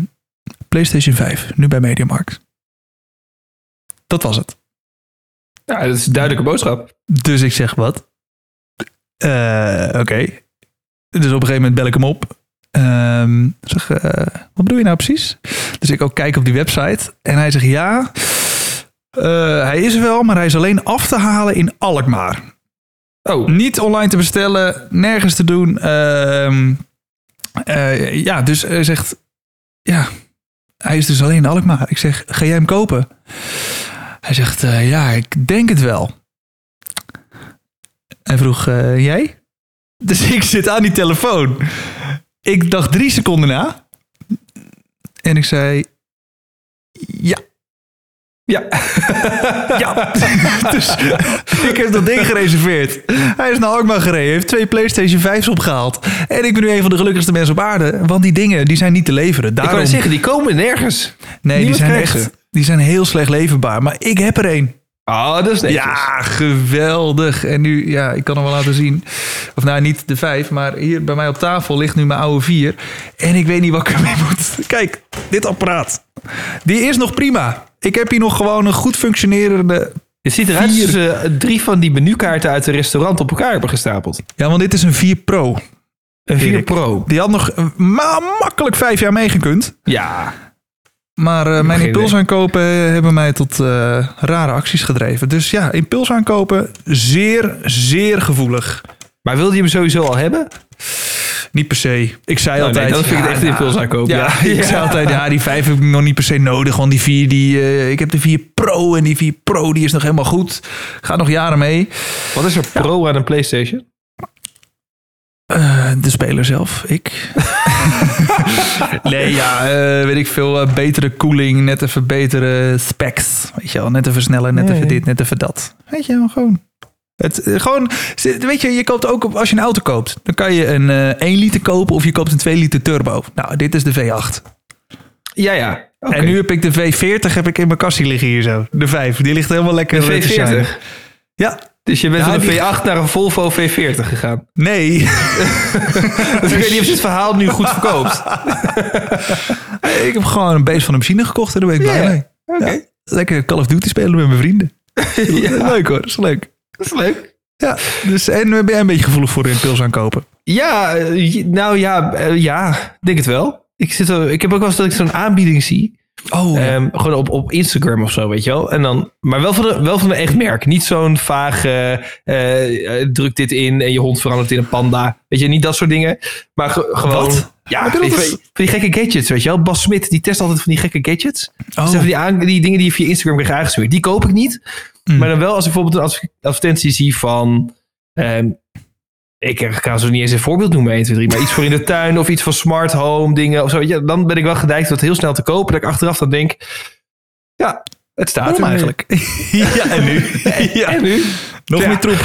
Speaker 1: PlayStation 5, nu bij Mediamarkt. Dat was het.
Speaker 2: Ja, dat is een duidelijke boodschap.
Speaker 1: Dus ik zeg wat? Eh, Oké. Dus op een gegeven moment bel ik hem op. Ehm, ik zeg, eh, wat bedoel je nou precies? Dus ik ook kijk op die website. En hij zegt, ja, eh, hij is er wel, maar hij is alleen af te halen in Alkmaar.
Speaker 2: Oh,
Speaker 1: Niet online te bestellen, nergens te doen. Ehm, eh, ja, dus hij zegt, ja, hij is dus alleen in Alkmaar. Ik zeg, ga jij hem kopen? Hij zegt, eh, ja, ik denk het wel. Hij vroeg, eh, jij? Dus [LAUGHS] ik zit aan die telefoon. Ik dacht drie seconden na. En ik zei, ja.
Speaker 2: ja.
Speaker 1: Ja, [LAUGHS] dus ik heb dat ding gereserveerd. Hij is naar Alkmaar gereden, heeft twee PlayStation 5's opgehaald. En ik ben nu een van de gelukkigste mensen op aarde, want die dingen die zijn niet te leveren.
Speaker 2: Ik
Speaker 1: Daarom,
Speaker 2: kan zeggen, die komen nergens.
Speaker 1: nee, die
Speaker 2: niemand
Speaker 1: zijn,
Speaker 2: krijgt
Speaker 1: echt,
Speaker 2: ze.
Speaker 1: die zijn heel slecht leverbaar, maar ik heb er één.
Speaker 2: Ah, dat is netjes.
Speaker 1: Ja, geweldig. En nu, ja, ik kan hem wel laten zien. Of nou, niet de vijf, maar hier bij mij op tafel ligt nu mijn oude vier. En ik weet niet wat ik ermee moet. Kijk, dit apparaat. Die is nog prima. Ik heb hier nog gewoon een goed functionerende
Speaker 2: Het ziet eruit
Speaker 1: Vier.
Speaker 2: alsof ze eh, drie van die menukaarten uit een restaurant op elkaar hebben gestapeld.
Speaker 1: Ja, want dit is een 4 Pro.
Speaker 2: Een
Speaker 1: Erik.
Speaker 2: 4 Pro.
Speaker 1: Die had nog eh, ma makkelijk vijf jaar meegekund.
Speaker 2: Ja.
Speaker 1: Maar eh, mijn
Speaker 2: geen
Speaker 1: impulsaankopen eh, hebben mij tot eh, rare acties gedreven. Dus ja, impulsaankopen, zeer, zeer gevoelig.
Speaker 2: Maar wilde je hem sowieso al hebben?
Speaker 1: Niet per se. Ik zei
Speaker 2: Nou,
Speaker 1: altijd...
Speaker 2: nee, dan vind ik het echt een
Speaker 1: nou,
Speaker 2: impulsaankoop, ja.
Speaker 1: [LAUGHS] ik
Speaker 2: [LAUGHS] Ja.
Speaker 1: zei altijd, ja, die vijf heb ik nog niet per se nodig. Want die vier, die, eh, ik heb de vier Pro en die vier Pro, die is nog helemaal goed. Gaat nog jaren mee.
Speaker 2: Wat is er pro aan een PlayStation?
Speaker 1: Eh, de speler zelf, ik. [LAUGHS] nee, ja, eh, weet ik veel. eh, betere koeling, net even betere specs. Weet je wel, net even sneller, net
Speaker 2: Ja,
Speaker 1: even
Speaker 2: ja.
Speaker 1: dit, net even dat. Weet je wel, gewoon. Het, eh, gewoon, weet je, je koopt ook op- als je een auto koopt. Dan kan je een eh 1 liter kopen of je koopt een 2 liter turbo. Nou, dit is de V8.
Speaker 2: Ja, ja. Oké.
Speaker 1: En nu heb ik de V40 heb ik in mijn kassie liggen hier zo. De 5, die ligt helemaal lekker eh, te shinen.
Speaker 2: V40.
Speaker 1: Ja,
Speaker 2: Dus je bent
Speaker 1: Ja,
Speaker 2: van
Speaker 1: die-
Speaker 2: een V8 naar een Volvo V40 [LAUGHS] gegaan.
Speaker 1: nee. [LAUGHS]
Speaker 2: Dus ik weet niet of dit verhaal nu goed verkoopt.
Speaker 1: ik heb gewoon een beest van een machine gekocht en daar ben ik
Speaker 2: Ja,
Speaker 1: blij
Speaker 2: ja.
Speaker 1: mee.
Speaker 2: [LAUGHS] Oké.
Speaker 1: Ja. Lekker Call of Duty spelen met mijn vrienden.
Speaker 2: [LAUGHS] Ja.
Speaker 1: Leuk hoor, is leuk.
Speaker 2: Dat is leuk.
Speaker 1: Ja, dus, en ben jij een beetje gevoelig voor een pils aankopen?
Speaker 2: Ja, eh, j- nou ja, eh, ja, denk het wel. Ik, zit, er- ik heb ook wel eens dat ik zo'n aanbieding zie.
Speaker 1: Oh,
Speaker 2: Ehm, gewoon op, op Instagram of zo, weet je wel. En dan, maar wel van, een, wel van een echt merk. Niet zo'n vaag eh, eh, eh, druk dit in en je hond verandert in een panda. Weet je, niet dat soort dingen. Maar ge- gewoon...
Speaker 1: Wat?
Speaker 2: Ja,
Speaker 1: Heb je
Speaker 2: van
Speaker 1: dat
Speaker 2: die,
Speaker 1: eens-
Speaker 2: van die gekke gadgets, weet je wel. Bas Smit, die test altijd van die gekke gadgets.
Speaker 1: Oh.
Speaker 2: Dus van die, aan- die dingen die je via Instagram krijgt aangestuurd. Die koop ik niet. Maar dan wel als ik bijvoorbeeld een adv- advertentie zie van... ehm, ik ga zo niet eens een voorbeeld noemen, 1, 2, 3. Maar iets voor in de tuin of iets van smart home dingen of zo. Ja, dan ben ik wel gedijkt dat heel snel te kopen. Dat ik achteraf dan denk... Ja, het staat
Speaker 1: Waarom
Speaker 2: er
Speaker 1: eigenlijk? [LAUGHS] ja, en nu?
Speaker 2: Ja.
Speaker 1: ja.
Speaker 2: En nu?
Speaker 1: Nog
Speaker 2: Ja.
Speaker 1: meer troep.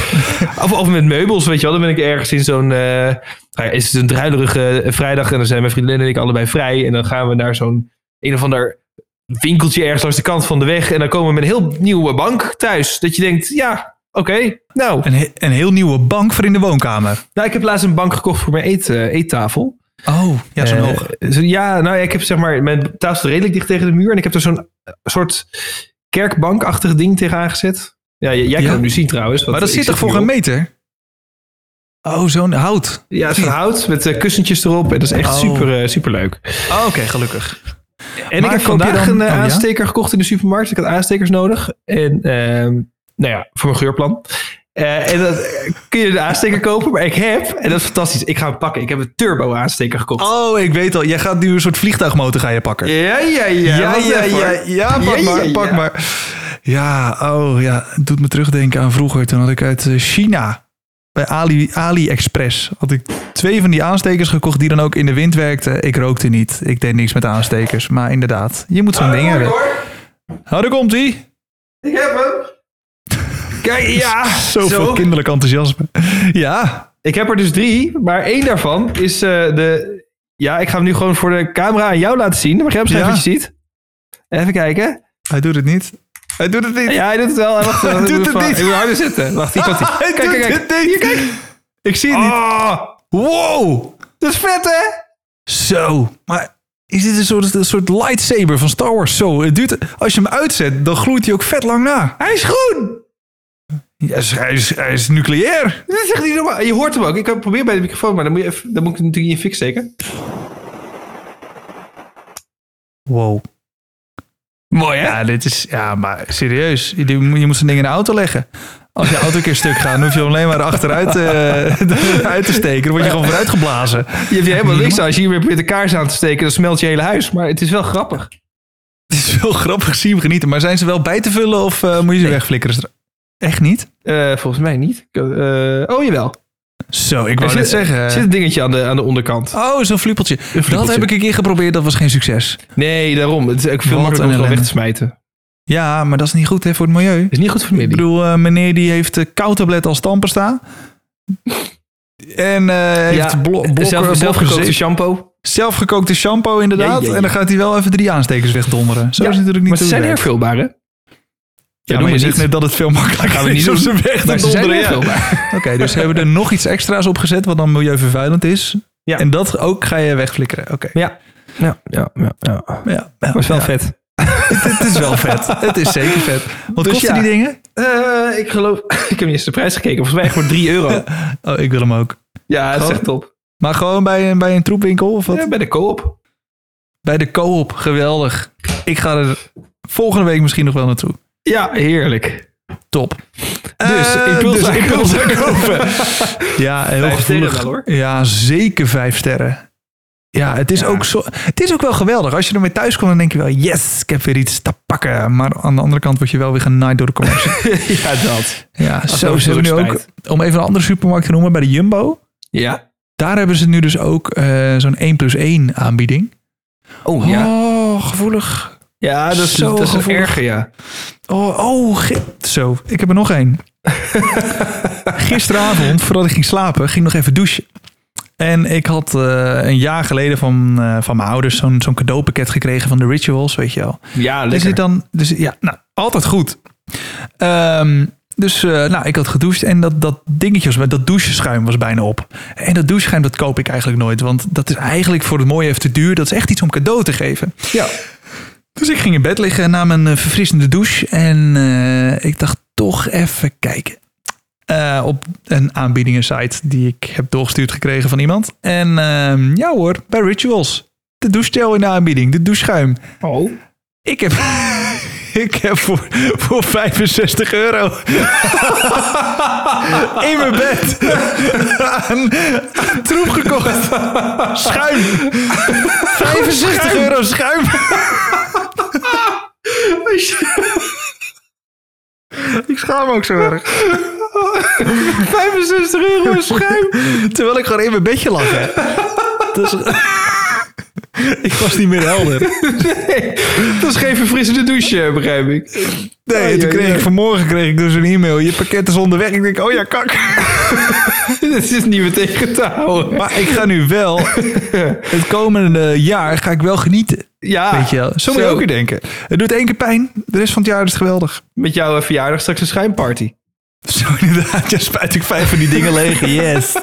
Speaker 2: Of, of met meubels, weet je wel. Dan ben ik ergens in zo'n... eh, nou ja, is het een druilerige vrijdag en dan zijn mijn vriendin en ik allebei vrij. En dan gaan we naar zo'n een of ander winkeltje ergens langs de kant van de weg. En dan komen we met een heel nieuwe bank thuis. Dat je denkt, ja, oké, nou...
Speaker 1: Een, he- een heel nieuwe bank voor in de woonkamer.
Speaker 2: Nou, ik heb laatst een bank gekocht voor mijn eet, eh, eettafel.
Speaker 1: Oh, ja, zo'n
Speaker 2: Eh,
Speaker 1: hoog.
Speaker 2: zo- ja, nou ja, ik heb zeg maar, mijn tafel staat redelijk dicht tegen de muur. En ik heb er zo'n eh, soort kerkbankachtig ding tegenaan gezet. Ja, j- jij kan
Speaker 1: Ja.
Speaker 2: hem nu zien trouwens. want
Speaker 1: Maar dat
Speaker 2: ik
Speaker 1: zit toch
Speaker 2: nu
Speaker 1: voor een
Speaker 2: op-
Speaker 1: meter? Oh, zo'n hout.
Speaker 2: Ja, het is van hout met eh, kussentjes erop. En dat is echt
Speaker 1: Oh.
Speaker 2: super, eh, super leuk.
Speaker 1: Oh, Oké, gelukkig.
Speaker 2: En
Speaker 1: Maar
Speaker 2: ik heb
Speaker 1: koop je
Speaker 2: vandaag
Speaker 1: dan-
Speaker 2: een eh,
Speaker 1: oh, ja?
Speaker 2: aansteker gekocht in de supermarkt. Ik had aanstekers nodig. En ehm, nou ja, voor mijn geurplan. Eh, en dat eh, kun je de aansteker kopen. Maar ik heb, en dat is fantastisch, ik ga hem pakken. Ik heb een turbo aansteker gekocht.
Speaker 1: Oh, ik weet al. Jij gaat nu een soort vliegtuigmotor ga je pakken.
Speaker 2: Ja, ja, ja.
Speaker 1: ja,
Speaker 2: Wacht
Speaker 1: ja,
Speaker 2: even,
Speaker 1: ja,
Speaker 2: hoor.
Speaker 1: ja, pak
Speaker 2: Ja, ja,
Speaker 1: maar,
Speaker 2: ja.
Speaker 1: pak maar. Ja, oh ja, het doet me terugdenken aan vroeger. Toen had ik uit eh, China, bij Ali, AliExpress, had ik twee van die aanstekers gekocht die dan ook in de wind werkten. Ik rookte niet, ik deed niks met aanstekers. Maar inderdaad, je moet zo'n ding hebben. Oh, daar komt ie.
Speaker 2: Ik heb hem. Kijk, ja. [LAUGHS]
Speaker 1: Zoveel kinderlijk enthousiasme. Ja,
Speaker 2: Ik heb er dus drie, maar één daarvan is eh, de... Ja, ik ga hem nu gewoon voor de camera aan jou laten zien. Mag jij beschrijven
Speaker 1: Ja.
Speaker 2: wat je ziet? Even kijken.
Speaker 1: hij doet het niet. Hij doet het niet.
Speaker 2: Ja, hij doet het wel.
Speaker 1: [LAUGHS]
Speaker 2: Wacht,
Speaker 1: Hij
Speaker 2: ik
Speaker 1: doet
Speaker 2: moet
Speaker 1: het
Speaker 2: van-
Speaker 1: niet.
Speaker 2: Ik moet harder zitten. Wacht, hier komt hij.
Speaker 1: Ah, [LAUGHS] Hij
Speaker 2: Kijk,
Speaker 1: doet
Speaker 2: kijk, kijk.
Speaker 1: het niet. Oh.
Speaker 2: Hier, kijk.
Speaker 1: Ik zie het niet.
Speaker 2: Ah,
Speaker 1: Wow.
Speaker 2: dat is vet, hè?
Speaker 1: Zo, maar is dit een soort, een soort lightsaber van Star Wars? Zo, het duurt, als je hem uitzet, dan gloeit hij ook vet lang na.
Speaker 2: Hij is groen.
Speaker 1: Ja, is- hij, is, hij is nucleair.
Speaker 2: Dit is echt niet normaal. Je hoort hem ook. Ik probeer bij de microfoon, maar dan moet, je even- dan moet ik hem natuurlijk in je fik steken.
Speaker 1: Wow.
Speaker 2: Mooi, hè?
Speaker 1: Ja, dit is, ja, maar serieus. Je, moet- je moet zo'n ding in de auto leggen. Als je auto een keer stuk gaat, dan hoef je hem alleen maar achteruit eh, [LAUGHS] uit te steken. Dan word je gewoon vooruit geblazen.
Speaker 2: [LAUGHS] Je hebt hier helemaal niks aan. Als je hiermee probeert de kaars aan te steken, dan smelt je hele huis. Maar het is wel grappig.
Speaker 1: Het is wel grappig, zie hem genieten. Maar zijn ze wel bij te vullen of eh, moet je ze wegflikkeren? Echt niet?
Speaker 2: Eh, volgens mij niet. Eh, oh, jawel.
Speaker 1: Zo, ik
Speaker 2: Er
Speaker 1: wou
Speaker 2: zit,
Speaker 1: net zeggen. eh,
Speaker 2: er zit een dingetje aan de, aan de onderkant.
Speaker 1: Oh, zo'n fliepeltje. Dat
Speaker 2: fliepeltje.
Speaker 1: heb ik een keer geprobeerd, dat was geen succes.
Speaker 2: Nee, daarom. Het is ook veel
Speaker 1: Wat
Speaker 2: makkelijker
Speaker 1: een
Speaker 2: om gewoon
Speaker 1: ellende.
Speaker 2: weg te smijten. Het
Speaker 1: Ja, maar dat is niet goed hè, voor het milieu.
Speaker 2: is niet goed voor de
Speaker 1: Ik
Speaker 2: familie.
Speaker 1: bedoel, eh, meneer die heeft eh, koudtablet als tandpasta. En eh, heeft blo- blok-
Speaker 2: zelf,
Speaker 1: blok-
Speaker 2: zelfgekookte
Speaker 1: zeep-
Speaker 2: shampoo.
Speaker 1: zelfgekookte shampoo inderdaad.
Speaker 2: Ja, ja, ja.
Speaker 1: En dan gaat hij wel even drie aanstekers wegdonderen. Zo
Speaker 2: Ja,
Speaker 1: is het natuurlijk niet
Speaker 2: Maar ze
Speaker 1: hoe
Speaker 2: zijn
Speaker 1: het werkt.
Speaker 2: hervulbaar, hè? Ja,
Speaker 1: Ja, maar je zegt net dat het veel makkelijker
Speaker 2: Gaan we
Speaker 1: is
Speaker 2: niet
Speaker 1: om
Speaker 2: doen.
Speaker 1: ze weg te
Speaker 2: maar ze zijn
Speaker 1: donderen. ja.
Speaker 2: hervulbaar.
Speaker 1: Oké, dus ze hebben er nog iets extra's op gezet wat dan milieuvervuilend is.
Speaker 2: Ja.
Speaker 1: En dat ook ga je wegflikkeren. Oké.
Speaker 2: Ja. Ja, ja, ja, ja. Maar
Speaker 1: Ja, ja,
Speaker 2: het is wel
Speaker 1: ja.
Speaker 2: vet.
Speaker 1: [LAUGHS] Het is wel vet. Het is zeker vet. Wat
Speaker 2: Dus
Speaker 1: kosten
Speaker 2: ja.
Speaker 1: die dingen?
Speaker 2: Eh, ik geloof... [LAUGHS] ik heb niet eens de prijs gekeken. Volgens mij echt voor 3
Speaker 1: [LAUGHS]
Speaker 2: euro.
Speaker 1: Oh, ik wil hem ook.
Speaker 2: Ja, dat is
Speaker 1: Gewoon-
Speaker 2: echt top.
Speaker 1: Maar gewoon bij een, bij een troepwinkel of wat?
Speaker 2: Ja, bij de co-op.
Speaker 1: Bij de co-op, geweldig. Ik ga er volgende week misschien nog wel naartoe.
Speaker 2: Ja, heerlijk.
Speaker 1: Top.
Speaker 2: Dus,
Speaker 1: Eh,
Speaker 2: impuls
Speaker 1: dus
Speaker 2: aankopen.
Speaker 1: impuls aankopen. [LAUGHS] ja, heel
Speaker 2: Vijf sterren
Speaker 1: gevoelig.
Speaker 2: wel,
Speaker 1: [LAUGHS]
Speaker 2: hoor.
Speaker 1: Ja, zeker vijf sterren. Ja, het is,
Speaker 2: Ja.
Speaker 1: Ook zo, het is ook wel geweldig. Als je ermee thuis komt, dan denk je wel... yes, ik heb weer iets te pakken. Maar aan de andere kant word je wel weer genaaid door de commercie.
Speaker 2: [LAUGHS] ja, dat.
Speaker 1: ja,
Speaker 2: Ach,
Speaker 1: zo
Speaker 2: dat
Speaker 1: ze
Speaker 2: is
Speaker 1: hebben nu
Speaker 2: ook
Speaker 1: ook... Om even een andere supermarkt te noemen, bij de Jumbo...
Speaker 2: Ja.
Speaker 1: daar hebben ze nu dus ook eh, zo'n 1 plus 1 aanbieding.
Speaker 2: Oh,
Speaker 1: Oh, gevoelig.
Speaker 2: Ja, dat is,
Speaker 1: Zo
Speaker 2: dat is een
Speaker 1: gevoelig.
Speaker 2: erge, ja.
Speaker 1: Oh, oh gi- zo. Ik heb er nog één. Gisteravond, voordat ik ging slapen, ging ik nog even douchen. En ik had eh, een jaar geleden van, eh, van mijn ouders zo'n zo'n cadeaupakket gekregen van de Rituals, weet je wel.
Speaker 2: Ja,
Speaker 1: Dus
Speaker 2: lekker.
Speaker 1: dit dan, dus ja, nou, altijd goed. Ehm, dus eh, nou, ik had gedoucht en dat, dat dingetje, was, dat doucheschuim was bijna op. En dat doucheschuim, dat koop ik eigenlijk nooit. Want dat is eigenlijk voor het mooie even te duur. Dat is echt iets om cadeau te geven.
Speaker 2: Ja.
Speaker 1: Dus ik ging in bed liggen en nam een eh, verfrissende douche. En eh, ik dacht toch even kijken. eh, op een aanbiedingensite die ik heb doorgestuurd gekregen van iemand. En ehm, ja hoor, bij Rituals. De douchegel in de aanbieding, de doucheschuim.
Speaker 2: Oh.
Speaker 1: Ik heb, [LAUGHS] ik heb voor, voor 65 euro [LAUGHS] in mijn bed een troep gekocht. Schuim. 65 euro schuim. [LAUGHS] Ik schaam me ook zo erg.
Speaker 2: 65 euro [LAUGHS] schuim.
Speaker 1: Terwijl ik gewoon in mijn bedje lag. Hè. Dus, [LAUGHS] ik was niet meer helder.
Speaker 2: Dat is geen verfrissende douche, begrijp ik. [LAUGHS]
Speaker 1: Nee, en toen
Speaker 2: ja,
Speaker 1: kreeg
Speaker 2: ja.
Speaker 1: ik vanmorgen kreeg ik dus een e-mail. Je pakket is onderweg. Ik denk, oh ja, kak.
Speaker 2: Dit is niet meer tegen te houden.
Speaker 1: Oh, Maar ik ga nu wel, [LAUGHS] het komende jaar ga ik wel genieten.
Speaker 2: Ja,
Speaker 1: Weet je wel. Ah, Zo moet je ook weer denken. Het doet één keer pijn. De rest van het jaar is het geweldig.
Speaker 2: met jouw eh, verjaardag straks een schuimparty.
Speaker 1: [LAUGHS] Zo inderdaad. Ja, spuit ik vijf van die dingen leeg. Yes.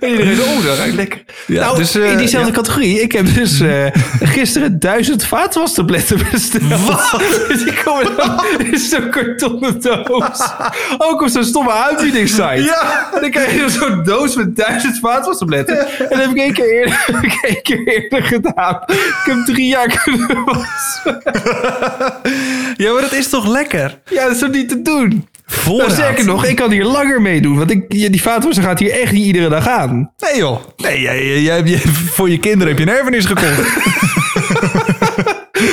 Speaker 2: En iedereen, oh, dat ruikt lekker.
Speaker 1: Ja, Mhm.
Speaker 2: nou,
Speaker 1: dus, eh,
Speaker 2: in diezelfde categorie, ik heb dus eh, gisteren duizend vaatwastabletten [LAUGHS] besteld. [LAUGHS] Dus Wat? Die komen dan in zo'n
Speaker 1: [LAUGHS]
Speaker 2: kartonnen doos. Ook op zo'n stomme aanbiedingssite.
Speaker 1: Ja.
Speaker 2: En dan krijg je zo'n doos met duizend vaatwastabletten. En dat heb ik één keer eerder, [LAUGHS] heb ik één keer eerder gedaan. Ik heb drie jaar kunnen wassen.
Speaker 1: Ja, maar dat is toch lekker?
Speaker 2: Ja, dat is toch niet te doen? Nou,
Speaker 1: Voorraad.
Speaker 2: sterker nog, ik kan hier langer mee doen. Want ik, die vaatwasser gaat hier echt niet iedere dag aan.
Speaker 1: Nee joh. Nee, jij, jij, jij hebt je- voor je kinderen heb je een erfenis gekocht.
Speaker 2: [LAUGHS]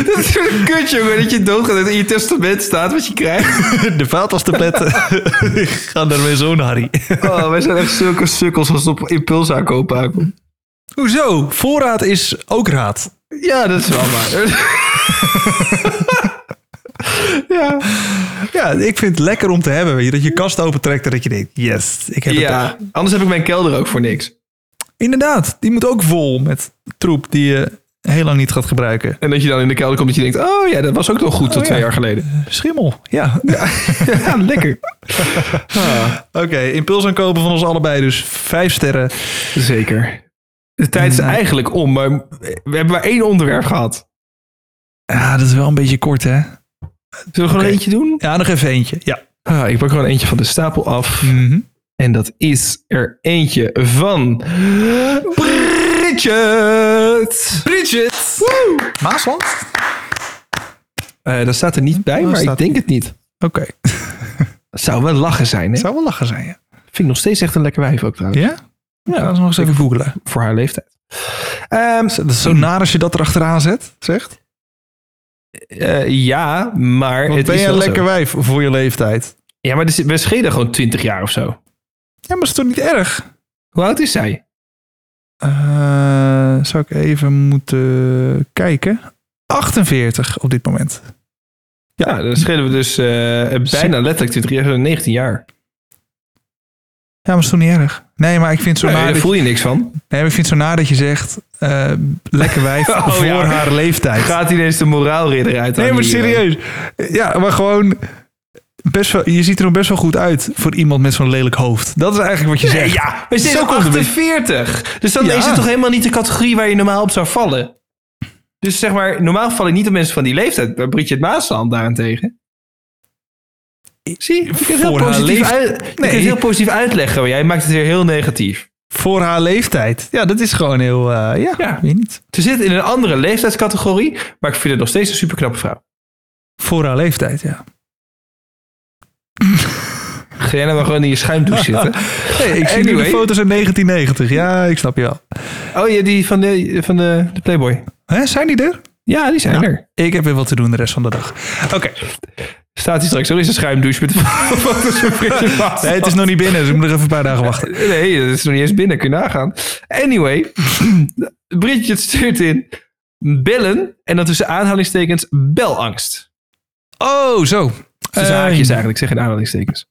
Speaker 2: Dat is zo'n kut, jongen. Dat je doodgaat en in je testament staat wat je krijgt.
Speaker 1: [LAUGHS] De [LAUGHS] vaatwastabletten gaan naar mijn zoon Harry.
Speaker 2: [LAUGHS] Oh, wij zijn echt zulke sukkels als het op impuls aankopen aankomt.
Speaker 1: Hoezo? Voorraad is ook raad.
Speaker 2: Ja, dat is wel waar. [LAUGHS] ja.
Speaker 1: Ja, ik vind het lekker om te hebben. Weet je, dat je kast opentrekt en dat je denkt, yes, ik heb het toch.
Speaker 2: ja, anders heb ik mijn kelder ook voor niks.
Speaker 1: Inderdaad, die moet ook vol met troep die je heel lang niet gaat gebruiken.
Speaker 2: En dat je dan in de kelder komt dat je denkt... oh ja, dat was ook nog goed tot
Speaker 1: ja.
Speaker 2: twee jaar
Speaker 1: [LAUGHS]
Speaker 2: geleden.
Speaker 1: Schimmel, ja.
Speaker 2: ja, lekker.
Speaker 1: [LAUGHS] Oké, impuls aankopen van ons allebei, dus vijf sterren.
Speaker 2: Zeker. De tijd
Speaker 1: Mm.
Speaker 2: is eigenlijk om, maar we hebben maar één onderwerp gehad.
Speaker 1: Ja, dat is wel een beetje kort, hè?
Speaker 2: Zullen we gewoon
Speaker 1: Oké.
Speaker 2: eentje doen?
Speaker 1: Ja, nog even eentje. Ja.
Speaker 2: Ah, ik pak gewoon eentje van de stapel af.
Speaker 1: Mhm.
Speaker 2: En dat is er eentje van Bridget. Bridget.
Speaker 1: Maasland?
Speaker 2: Eh, dat staat er niet bij,
Speaker 1: Oh,
Speaker 2: maar ik
Speaker 1: staat-
Speaker 2: denk het niet.
Speaker 1: Oké,
Speaker 2: Het zou wel lachen zijn. Hè?
Speaker 1: zou wel lachen zijn, ja.
Speaker 2: Vind ik nog steeds echt een lekker wijf ook trouwens.
Speaker 1: Ja? Ja, dat is nog eens even googelen.
Speaker 2: Voor haar leeftijd. Ehm,
Speaker 1: Dat is zo naar als je dat erachteraan zet, zegt.
Speaker 2: eh, ja, maar
Speaker 1: Want
Speaker 2: het
Speaker 1: ben
Speaker 2: is
Speaker 1: je een
Speaker 2: wel
Speaker 1: lekker
Speaker 2: zo.
Speaker 1: wijf voor je leeftijd?
Speaker 2: Ja, maar er zit- we schelen gewoon 20 jaar of zo.
Speaker 1: Ja, maar is toch niet erg?
Speaker 2: Hoe oud is zij?
Speaker 1: Eh, zou ik even moeten kijken. 48 op dit moment.
Speaker 2: Ja, dan schelen we dus eh, bijna letterlijk 20 jaar, zo'n 19 jaar.
Speaker 1: Ja, maar is toch niet erg? Nee, maar ik vind het zo
Speaker 2: Nee,
Speaker 1: naar
Speaker 2: daar
Speaker 1: dat-
Speaker 2: voel je niks van.
Speaker 1: Nee, maar ik vind het zo naar dat je zegt, eh, lekker wijf
Speaker 2: [LAUGHS] Oh,
Speaker 1: voor
Speaker 2: ja.
Speaker 1: haar leeftijd.
Speaker 2: [LAUGHS] Gaat ineens de moraalridder uit. aan
Speaker 1: nee, maar
Speaker 2: die, eh,
Speaker 1: serieus. Ja, maar gewoon, best wel, je ziet er nog best wel goed uit voor iemand met zo'n lelijk hoofd. Dat is eigenlijk wat je
Speaker 2: Nee,
Speaker 1: zegt.
Speaker 2: ja, we zijn
Speaker 1: Zo komt het
Speaker 2: 48. Dus dan
Speaker 1: Ja.
Speaker 2: is het toch helemaal niet de categorie waar je normaal op zou vallen. Dus zeg maar, normaal val ik niet op mensen van die leeftijd. Maar Bridget Maasland daarentegen. Zie, je kunt heel
Speaker 1: Voor haar
Speaker 2: positief,
Speaker 1: leeft-
Speaker 2: uit, je
Speaker 1: Nee.
Speaker 2: kunt heel positief uitleggen. Maar jij maakt het weer heel negatief.
Speaker 1: Voor haar leeftijd. Ja, dat is gewoon heel, eh, ja,
Speaker 2: Ja.
Speaker 1: weet niet.
Speaker 2: Ze zit in een andere leeftijdscategorie. Maar ik vind het nog steeds een superknappe vrouw.
Speaker 1: Voor haar leeftijd, ja.
Speaker 2: Ga jij nou maar gewoon in je [LAUGHS] schuimdouche zitten.
Speaker 1: ik zie nu de
Speaker 2: Anyway.
Speaker 1: foto's uit 1990. Ja, ik snap je wel.
Speaker 2: Oh ja, die van de, van de, de Playboy.
Speaker 1: Hè, zijn die er?
Speaker 2: Ja, die zijn er.
Speaker 1: Ik heb weer wat te doen de rest van de dag. Oké. [LAUGHS]
Speaker 2: Staat hij straks al in zijn schuimdouche met de [LAUGHS] foto's van Bridget Maasland.
Speaker 1: Nee, het is nog niet binnen, dus ik moet nog even een paar dagen wachten.
Speaker 2: Nee, dat is nog niet eens binnen. Kun je nagaan. Anyway, [CLEARS THROAT] Bridget stuurt in bellen en dan tussen aanhalingstekens belangst.
Speaker 1: Oh, zo.
Speaker 2: Tussen
Speaker 1: Eh,
Speaker 2: haakjes eigenlijk, zeg in aanhalingstekens.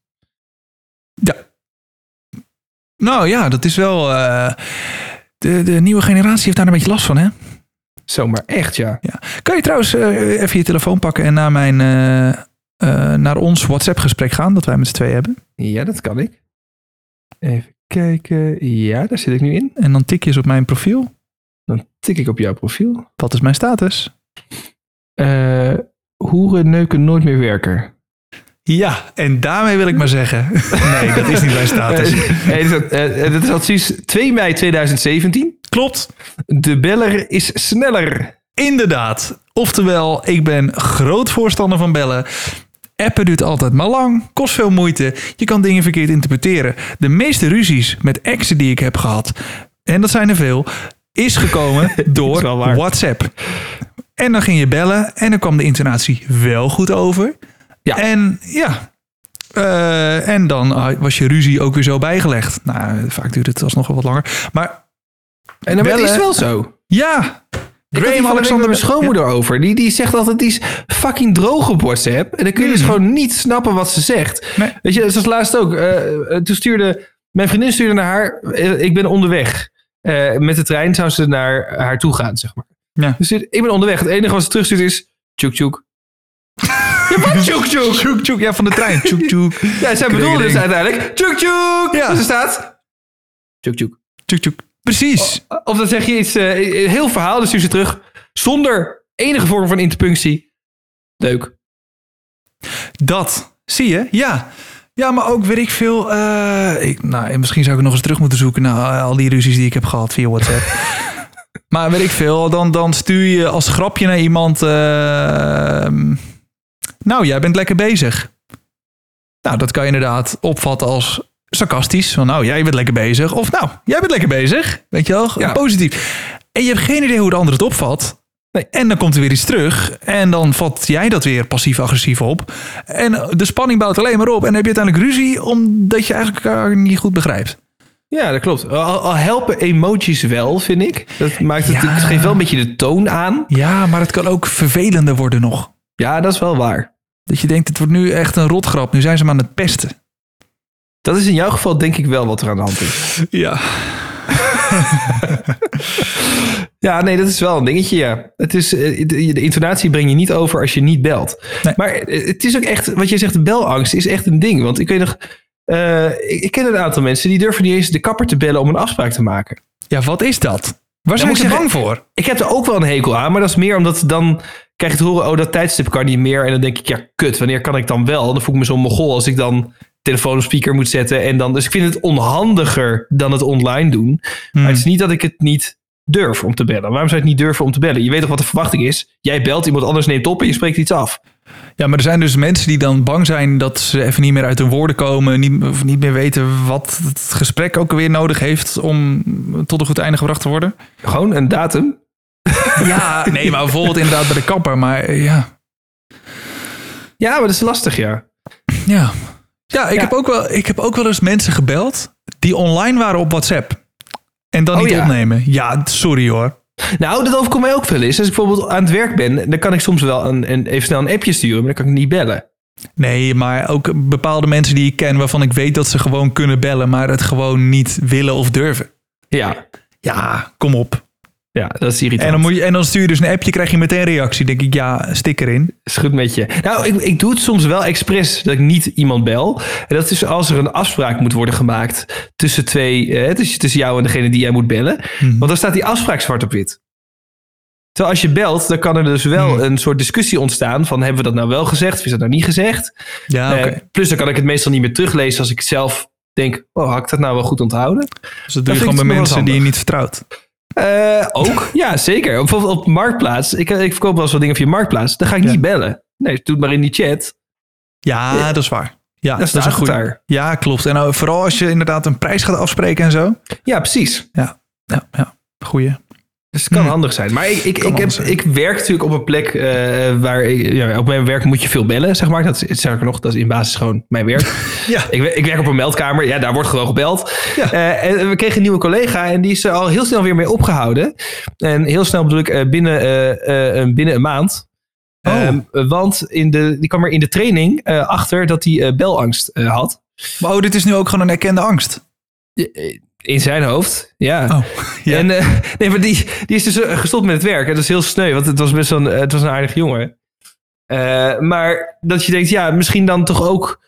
Speaker 1: Nou ja, dat is wel. eh, de, de nieuwe generatie heeft daar een beetje last van, hè?
Speaker 2: Zomaar echt, ja.
Speaker 1: Ja. Kan je trouwens eh, even je telefoon pakken en naar, mijn, eh, eh, naar ons WhatsApp-gesprek gaan, dat wij met z'n twee hebben?
Speaker 2: Ja, dat kan ik. Even kijken. Ja, daar zit ik nu in.
Speaker 1: En dan tik je eens op mijn profiel.
Speaker 2: Dan tik ik op jouw profiel.
Speaker 1: Wat is mijn status?
Speaker 2: Eh hoeren neuken nooit meer werken.
Speaker 1: Ja, en daarmee wil ik maar zeggen. [LAUGHS] Nee, dat is niet mijn status.
Speaker 2: Hey, dit is ook- eh, [LAUGHS] eh, dit is advies 2 mei 2017.
Speaker 1: [LAUGHS] Klopt.
Speaker 2: De beller is sneller.
Speaker 1: Inderdaad. Oftewel, ik ben groot voorstander van bellen. Appen duurt altijd maar lang, kost veel moeite. Je kan dingen verkeerd interpreteren. De meeste ruzies met exen die ik heb gehad, en dat zijn er veel, is
Speaker 2: [LAUGHS]
Speaker 1: gekomen door
Speaker 2: is wel waar.
Speaker 1: WhatsApp. En dan ging je bellen en dan kwam de intonatie wel goed over.
Speaker 2: Ja.
Speaker 1: En ja. eh, en dan ah, was je ruzie ook weer zo bijgelegd. Nou, vaak duurt het alsnog wel wat langer. Maar
Speaker 2: En dan
Speaker 1: Bellen-
Speaker 2: is wel zo.
Speaker 1: ja,
Speaker 2: Ik had die van de week met mijn schoonmoeder over. Die, die zegt altijd, die is fucking droog op WhatsApp. En dan kun je dus gewoon niet snappen wat ze zegt.
Speaker 1: Nee.
Speaker 2: Weet je, zoals laatst ook. eh, eh, toen stuurde, mijn vriendin stuurde naar haar, eh, ik ben onderweg. Eh, met de trein zou ze naar haar toe gaan, zeg maar.
Speaker 1: Ja.
Speaker 2: Dus dit- ik ben onderweg. Het enige wat ze terugstuurt is, tjoek tjoek. ja, wat [LAUGHS] tjoek tjoek?
Speaker 1: Tjoek, tjoek, ja, van de trein. Tjoek, tjoek.
Speaker 2: Ja, zij bedoelde dus
Speaker 1: Kringling.
Speaker 2: uiteindelijk, tjoek tjoek.
Speaker 1: Ja.
Speaker 2: Dus er staat, tjoek tjoek.
Speaker 1: Tjoek, tjoek. Precies.
Speaker 2: Of dan zeg je iets, eh, een heel verhaal, dus stuur ze terug. Zonder enige vorm van interpunctie. Leuk.
Speaker 1: Dat. Zie je? Ja. Ja, maar ook weet ik veel. eh, ik, nou, en misschien zou ik nog eens terug moeten zoeken naar eh, al die ruzies die ik heb gehad via WhatsApp. maar weet ik veel, dan, dan stuur je als grapje naar iemand. eh, nou, jij bent lekker bezig. Nou, dat kan je inderdaad opvatten als sarcastisch. Van nou, jij bent lekker bezig. Of nou, jij bent lekker bezig. Weet je wel?
Speaker 2: Ja.
Speaker 1: Positief. En je hebt geen idee hoe de ander het opvat.
Speaker 2: Nee.
Speaker 1: En dan komt er weer iets terug. En dan vat jij dat weer passief-agressief op. En de spanning bouwt alleen maar op. En dan heb je uiteindelijk ruzie omdat je eigenlijk elkaar niet goed begrijpt.
Speaker 2: Ja, dat klopt. Al, al helpen emoties wel, vind ik. Dat maakt het,
Speaker 1: Ja.
Speaker 2: het geeft wel een beetje de toon aan.
Speaker 1: Ja, maar het kan ook vervelender worden nog.
Speaker 2: Ja, dat is wel waar.
Speaker 1: Dat je denkt, het wordt nu echt een rotgrap. Nu zijn ze me aan het pesten.
Speaker 2: Dat is in jouw geval denk ik wel wat er aan de hand is.
Speaker 1: Ja.
Speaker 2: Ja, nee, dat is wel een dingetje, ja. Het is, eh, de de intonatie breng je niet over als je niet belt.
Speaker 1: Nee.
Speaker 2: Maar eh, het is ook echt, wat jij zegt, belangst is echt een ding. Want ik weet nog, eh, ik, ik ken een aantal mensen die durven niet eens de kapper te bellen om een afspraak te maken.
Speaker 1: Ja, wat is dat? Waar
Speaker 2: moet
Speaker 1: zijn
Speaker 2: ik
Speaker 1: ze
Speaker 2: zeggen-
Speaker 1: bang voor?
Speaker 2: Ik heb er ook wel een hekel aan, maar dat is meer omdat dan krijg je het horen, oh, dat tijdstip kan niet meer. En dan denk ik, ja, kut, wanneer kan ik dan wel? Dan voel ik me zo'n mogol als ik dan telefoon op speaker moet zetten. En dan, dus ik vind het onhandiger dan het online doen.
Speaker 1: Hmm.
Speaker 2: Maar het is niet dat ik het niet durf om te bellen. Waarom zou je het niet durven om te bellen? Je weet toch wat de verwachting is? Jij belt, iemand anders neemt op en je spreekt iets af.
Speaker 1: Ja, maar er zijn dus mensen die dan bang zijn dat ze even niet meer uit hun woorden komen. Niet, of niet meer weten wat het gesprek ook weer nodig heeft om tot een goed einde gebracht te worden.
Speaker 2: Gewoon een datum.
Speaker 1: Ja, nee, maar bijvoorbeeld inderdaad bij de kapper. Maar eh, ja,
Speaker 2: Ja, maar dat is lastig, ja.
Speaker 1: ja. Ja, ik,
Speaker 2: Ja.
Speaker 1: Heb ook wel, ik heb ook wel eens mensen gebeld die online waren op WhatsApp. En dan
Speaker 2: Oh,
Speaker 1: niet
Speaker 2: ja.
Speaker 1: opnemen. Ja, sorry hoor.
Speaker 2: Nou, dat overkomt mij ook veel eens. Als ik bijvoorbeeld aan het werk ben, dan kan ik soms wel een, een, even snel een appje sturen, maar dan kan ik niet bellen.
Speaker 1: Nee, maar ook bepaalde mensen die ik ken waarvan ik weet dat ze gewoon kunnen bellen, maar het gewoon niet willen of durven.
Speaker 2: Ja,
Speaker 1: Ja, kom op.
Speaker 2: ja dat is irritant.
Speaker 1: En dan, moet je, en dan stuur je dus een appje, krijg je meteen reactie. Denk ik, ja, stik erin.
Speaker 2: Is goed met je. Nou, ik, ik doe het soms wel expres dat ik niet iemand bel. En dat is als er een afspraak moet worden gemaakt tussen twee, eh, tussen, tussen jou en degene die jij moet bellen.
Speaker 1: Mhm.
Speaker 2: Want dan staat die afspraak zwart op wit. Terwijl als je belt, dan kan er dus wel
Speaker 1: Hmm.
Speaker 2: een soort discussie ontstaan van hebben we dat nou wel gezegd of is dat nou niet gezegd.
Speaker 1: Ja, oké.
Speaker 2: Eh, plus dan kan ik het meestal niet meer teruglezen als ik zelf denk, oh had ik dat nou wel goed onthouden?
Speaker 1: dus dat doe je
Speaker 2: vind
Speaker 1: gewoon
Speaker 2: ik
Speaker 1: bij
Speaker 2: nog wel
Speaker 1: mensen die je
Speaker 2: handig.
Speaker 1: niet vertrouwt.
Speaker 2: Eh,
Speaker 1: [LAUGHS]
Speaker 2: ook, ja zeker. Bijvoorbeeld op Marktplaats, ik, ik verkoop wel eens wat dingen via Marktplaats, dan ga ik
Speaker 1: Ja.
Speaker 2: niet bellen. Nee, doe het maar in die chat.
Speaker 1: Ja,
Speaker 2: Ja.
Speaker 1: dat is waar. Ja,
Speaker 2: Dan
Speaker 1: dat is
Speaker 2: staat
Speaker 1: een
Speaker 2: het
Speaker 1: goed.
Speaker 2: daar.
Speaker 1: Ja, klopt. En nou, vooral als je inderdaad een prijs gaat afspreken en zo.
Speaker 2: Ja, precies.
Speaker 1: Ja, ja. Goeie.
Speaker 2: Dus het kan
Speaker 1: Hmm.
Speaker 2: handig zijn. Maar ik, ik, ik, heb,
Speaker 1: handig zijn.
Speaker 2: ik werk natuurlijk op een plek eh, waar... Ik, ja, op mijn werk moet je veel bellen, zeg maar. Dat is, sterker nog, dat is in basis gewoon
Speaker 1: [LAUGHS]
Speaker 2: mijn werk.
Speaker 1: Ja.
Speaker 2: ik, wer- ik werk op een meldkamer. Ja, daar wordt gewoon gebeld.
Speaker 1: Ja.
Speaker 2: Eh, en we kregen een nieuwe collega en die is er al heel snel weer mee opgehouden. En heel snel bedoel ik eh, binnen, eh, eh, binnen een maand.
Speaker 1: Oh.
Speaker 2: Ehm, want in de, die kwam er in de training eh, achter dat hij eh, belangst eh, had.
Speaker 1: Maar oh, dit is nu ook gewoon een erkende angst.
Speaker 2: In zijn hoofd, ja.
Speaker 1: Oh, ja.
Speaker 2: En, eh, [LAUGHS] nee, maar die, die is dus eh, gestopt met het werk. En dat is heel sneu, want het was best wel een, eh, het was een aardig jongen. Eh, maar dat je denkt, ja, misschien dan toch ook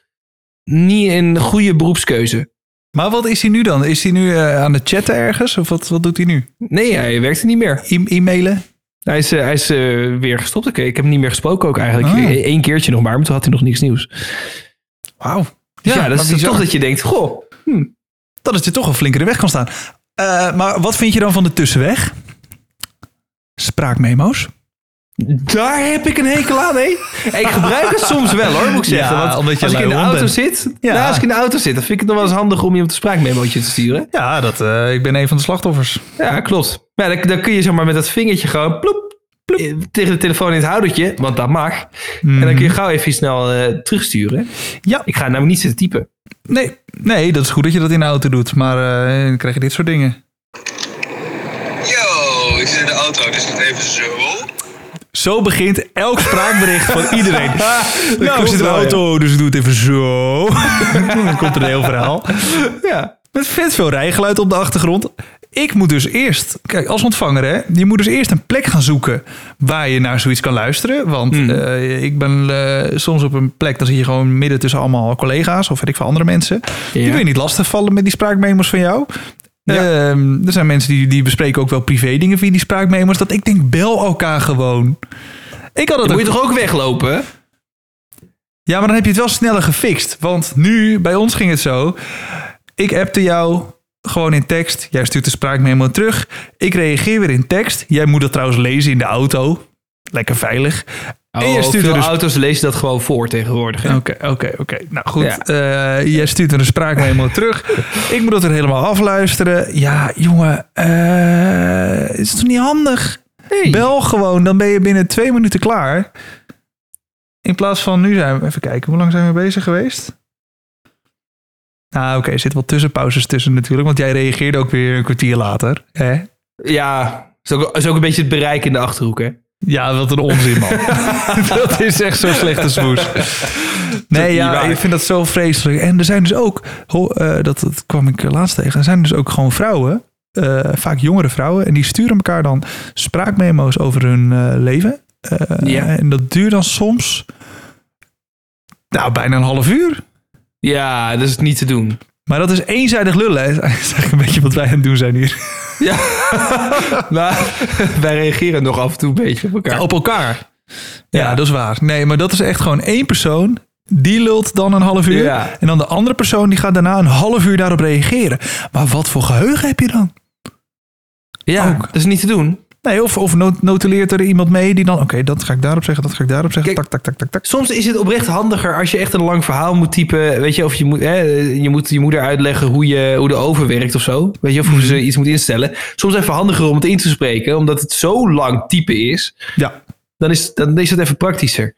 Speaker 2: niet een goede beroepskeuze.
Speaker 1: Maar wat is hij nu dan? Is hij nu eh, aan het chatten ergens? Of wat, wat doet hij nu?
Speaker 2: Nee, hij werkte niet meer.
Speaker 1: E- E-mailen?
Speaker 2: Hij is, eh, hij is eh, weer gestopt. Oké, ik heb hem niet meer gesproken ook eigenlijk.
Speaker 1: Ah.
Speaker 2: Eén keertje nog maar, maar toen had hij nog niks nieuws.
Speaker 1: Wauw.
Speaker 2: Dus ja, dat
Speaker 1: maar
Speaker 2: is
Speaker 1: bizar.
Speaker 2: toch dat je denkt, goh,
Speaker 1: dat het je toch wel flink in de weg kan staan. Eh, maar wat vind je dan van de tussenweg? Spraakmemo's.
Speaker 2: daar heb ik een hekel aan, hé. En ik gebruik het soms wel, hoor, moet ik zeggen.
Speaker 1: Ja,
Speaker 2: Want
Speaker 1: omdat je
Speaker 2: als ik
Speaker 1: lui
Speaker 2: in de
Speaker 1: hond
Speaker 2: auto
Speaker 1: bent.
Speaker 2: zit,
Speaker 1: Ja.
Speaker 2: nou, als ik in de auto zit, dan vind ik het nog wel eens handig om iemand een spraakmemootje te sturen.
Speaker 1: Ja, dat, eh, ik ben een van de slachtoffers.
Speaker 2: Ja, klopt. Maar dan, dan kun je zeg maar met dat vingertje gewoon ploep, ploep, eh, Mhm. tegen de telefoon in het houdertje, want dat mag. En dan kun je gauw even snel eh, terugsturen.
Speaker 1: Ja.
Speaker 2: Ik ga namelijk niet zitten typen.
Speaker 1: Nee, nee, dat is goed dat je dat in de auto doet. Maar eh, dan krijg je dit soort dingen.
Speaker 3: Yo, ik zit in de auto, dus het even zo.
Speaker 1: Zo begint elk spraakbericht van iedereen.
Speaker 2: Ah, [LAUGHS]
Speaker 1: nou, ik
Speaker 2: klopt
Speaker 1: zit in de
Speaker 2: wel,
Speaker 1: auto, dus ik doe het even zo. [LAUGHS] dan komt er een heel verhaal.
Speaker 2: Ja.
Speaker 1: Met vet veel rijgeluid op de achtergrond. Ik moet dus eerst, kijk, als ontvanger, hè, je moet dus eerst een plek gaan zoeken waar je naar zoiets kan luisteren. Want
Speaker 2: Mhm.
Speaker 1: eh, ik ben eh, soms op een plek, dan zit je gewoon midden tussen allemaal collega's of weet ik veel andere mensen. Die
Speaker 2: Ja.
Speaker 1: wil je niet lastigvallen met die spraakmemo's van jou.
Speaker 2: Ja.
Speaker 1: Ehm, er zijn mensen die, die bespreken ook wel privé dingen via die spraakmemo's. Dat ik denk, bel elkaar gewoon. Ik had het
Speaker 2: Dan
Speaker 1: ook
Speaker 2: moet je toch ook weglopen?
Speaker 1: ja, maar dan heb je het wel sneller gefixt. Want nu, bij ons ging het zo. Ik appte jou gewoon in tekst. Jij stuurt de spraakmemo terug. Ik reageer weer in tekst. Jij moet dat trouwens lezen in de auto. Lekker veilig. en jij
Speaker 2: Oh,
Speaker 1: stuurt
Speaker 2: veel
Speaker 1: er dus...
Speaker 2: auto's lezen dat gewoon voor tegenwoordig. hè?
Speaker 1: Oké, oké, oké. Nou goed, eh, jij stuurt er een spraakmemo terug. Ik moet dat er helemaal afluisteren. Ja, jongen, eh, is het toch niet handig?
Speaker 2: Hey.
Speaker 1: Bel gewoon, dan ben je binnen twee minuten klaar. In plaats van nu zijn we, even kijken, hoe lang zijn we bezig geweest? Nou, oké, er zitten wel tussenpauzes tussen natuurlijk, want jij reageerde ook weer een kwartier later. Hè?
Speaker 2: Ja, is ook, is ook een beetje het bereik in de achterhoek, hè?
Speaker 1: Ja, wat een onzin,
Speaker 2: [LAUGHS]
Speaker 1: man. dat is echt zo'n slechte smoes. Nee,
Speaker 2: niet
Speaker 1: ja,
Speaker 2: waar.
Speaker 1: ik vind dat zo vreselijk. En er zijn dus ook, ho- eh, dat, dat kwam ik laatst tegen, er zijn dus ook gewoon vrouwen, eh, vaak jongere vrouwen, en die sturen elkaar dan spraakmemo's over hun eh, leven. Eh,
Speaker 2: Ja.
Speaker 1: En dat duurt dan soms, nou, bijna een half uur.
Speaker 2: Ja, dat is niet te [LAUGHS] doen.
Speaker 1: Maar dat is eenzijdig lullen. hè. [LAUGHS] Dat is eigenlijk een beetje wat wij aan het doen zijn hier.
Speaker 2: Ja, maar [LAUGHS] wij reageren nog af en toe een beetje op elkaar.
Speaker 1: op elkaar. Ja,
Speaker 2: Ja.
Speaker 1: dat is waar. Nee, maar dat is echt gewoon één persoon. Die lult dan een half uur.
Speaker 2: Ja.
Speaker 1: En dan de andere persoon die gaat daarna een half uur daarop reageren. Maar wat voor geheugen heb je dan?
Speaker 2: ja,
Speaker 1: ook.
Speaker 2: dat is niet te doen.
Speaker 1: Nee, of, of not- notuleert er iemand mee die dan... Oké, dat ga ik daarop zeggen, dat ga ik daarop zeggen.
Speaker 2: Kijk,
Speaker 1: tak, tak, tak, tak, tak.
Speaker 2: Soms is het oprecht handiger als je echt een lang verhaal moet typen. Weet je, of je moet, hè, je, moet je moeder uitleggen hoe, je, hoe de oven werkt of zo. Weet je, of hoe ze iets moet instellen. Soms even handiger om het in te spreken, omdat het zo lang typen is.
Speaker 1: Ja,
Speaker 2: Dan is, dan is dat even praktischer.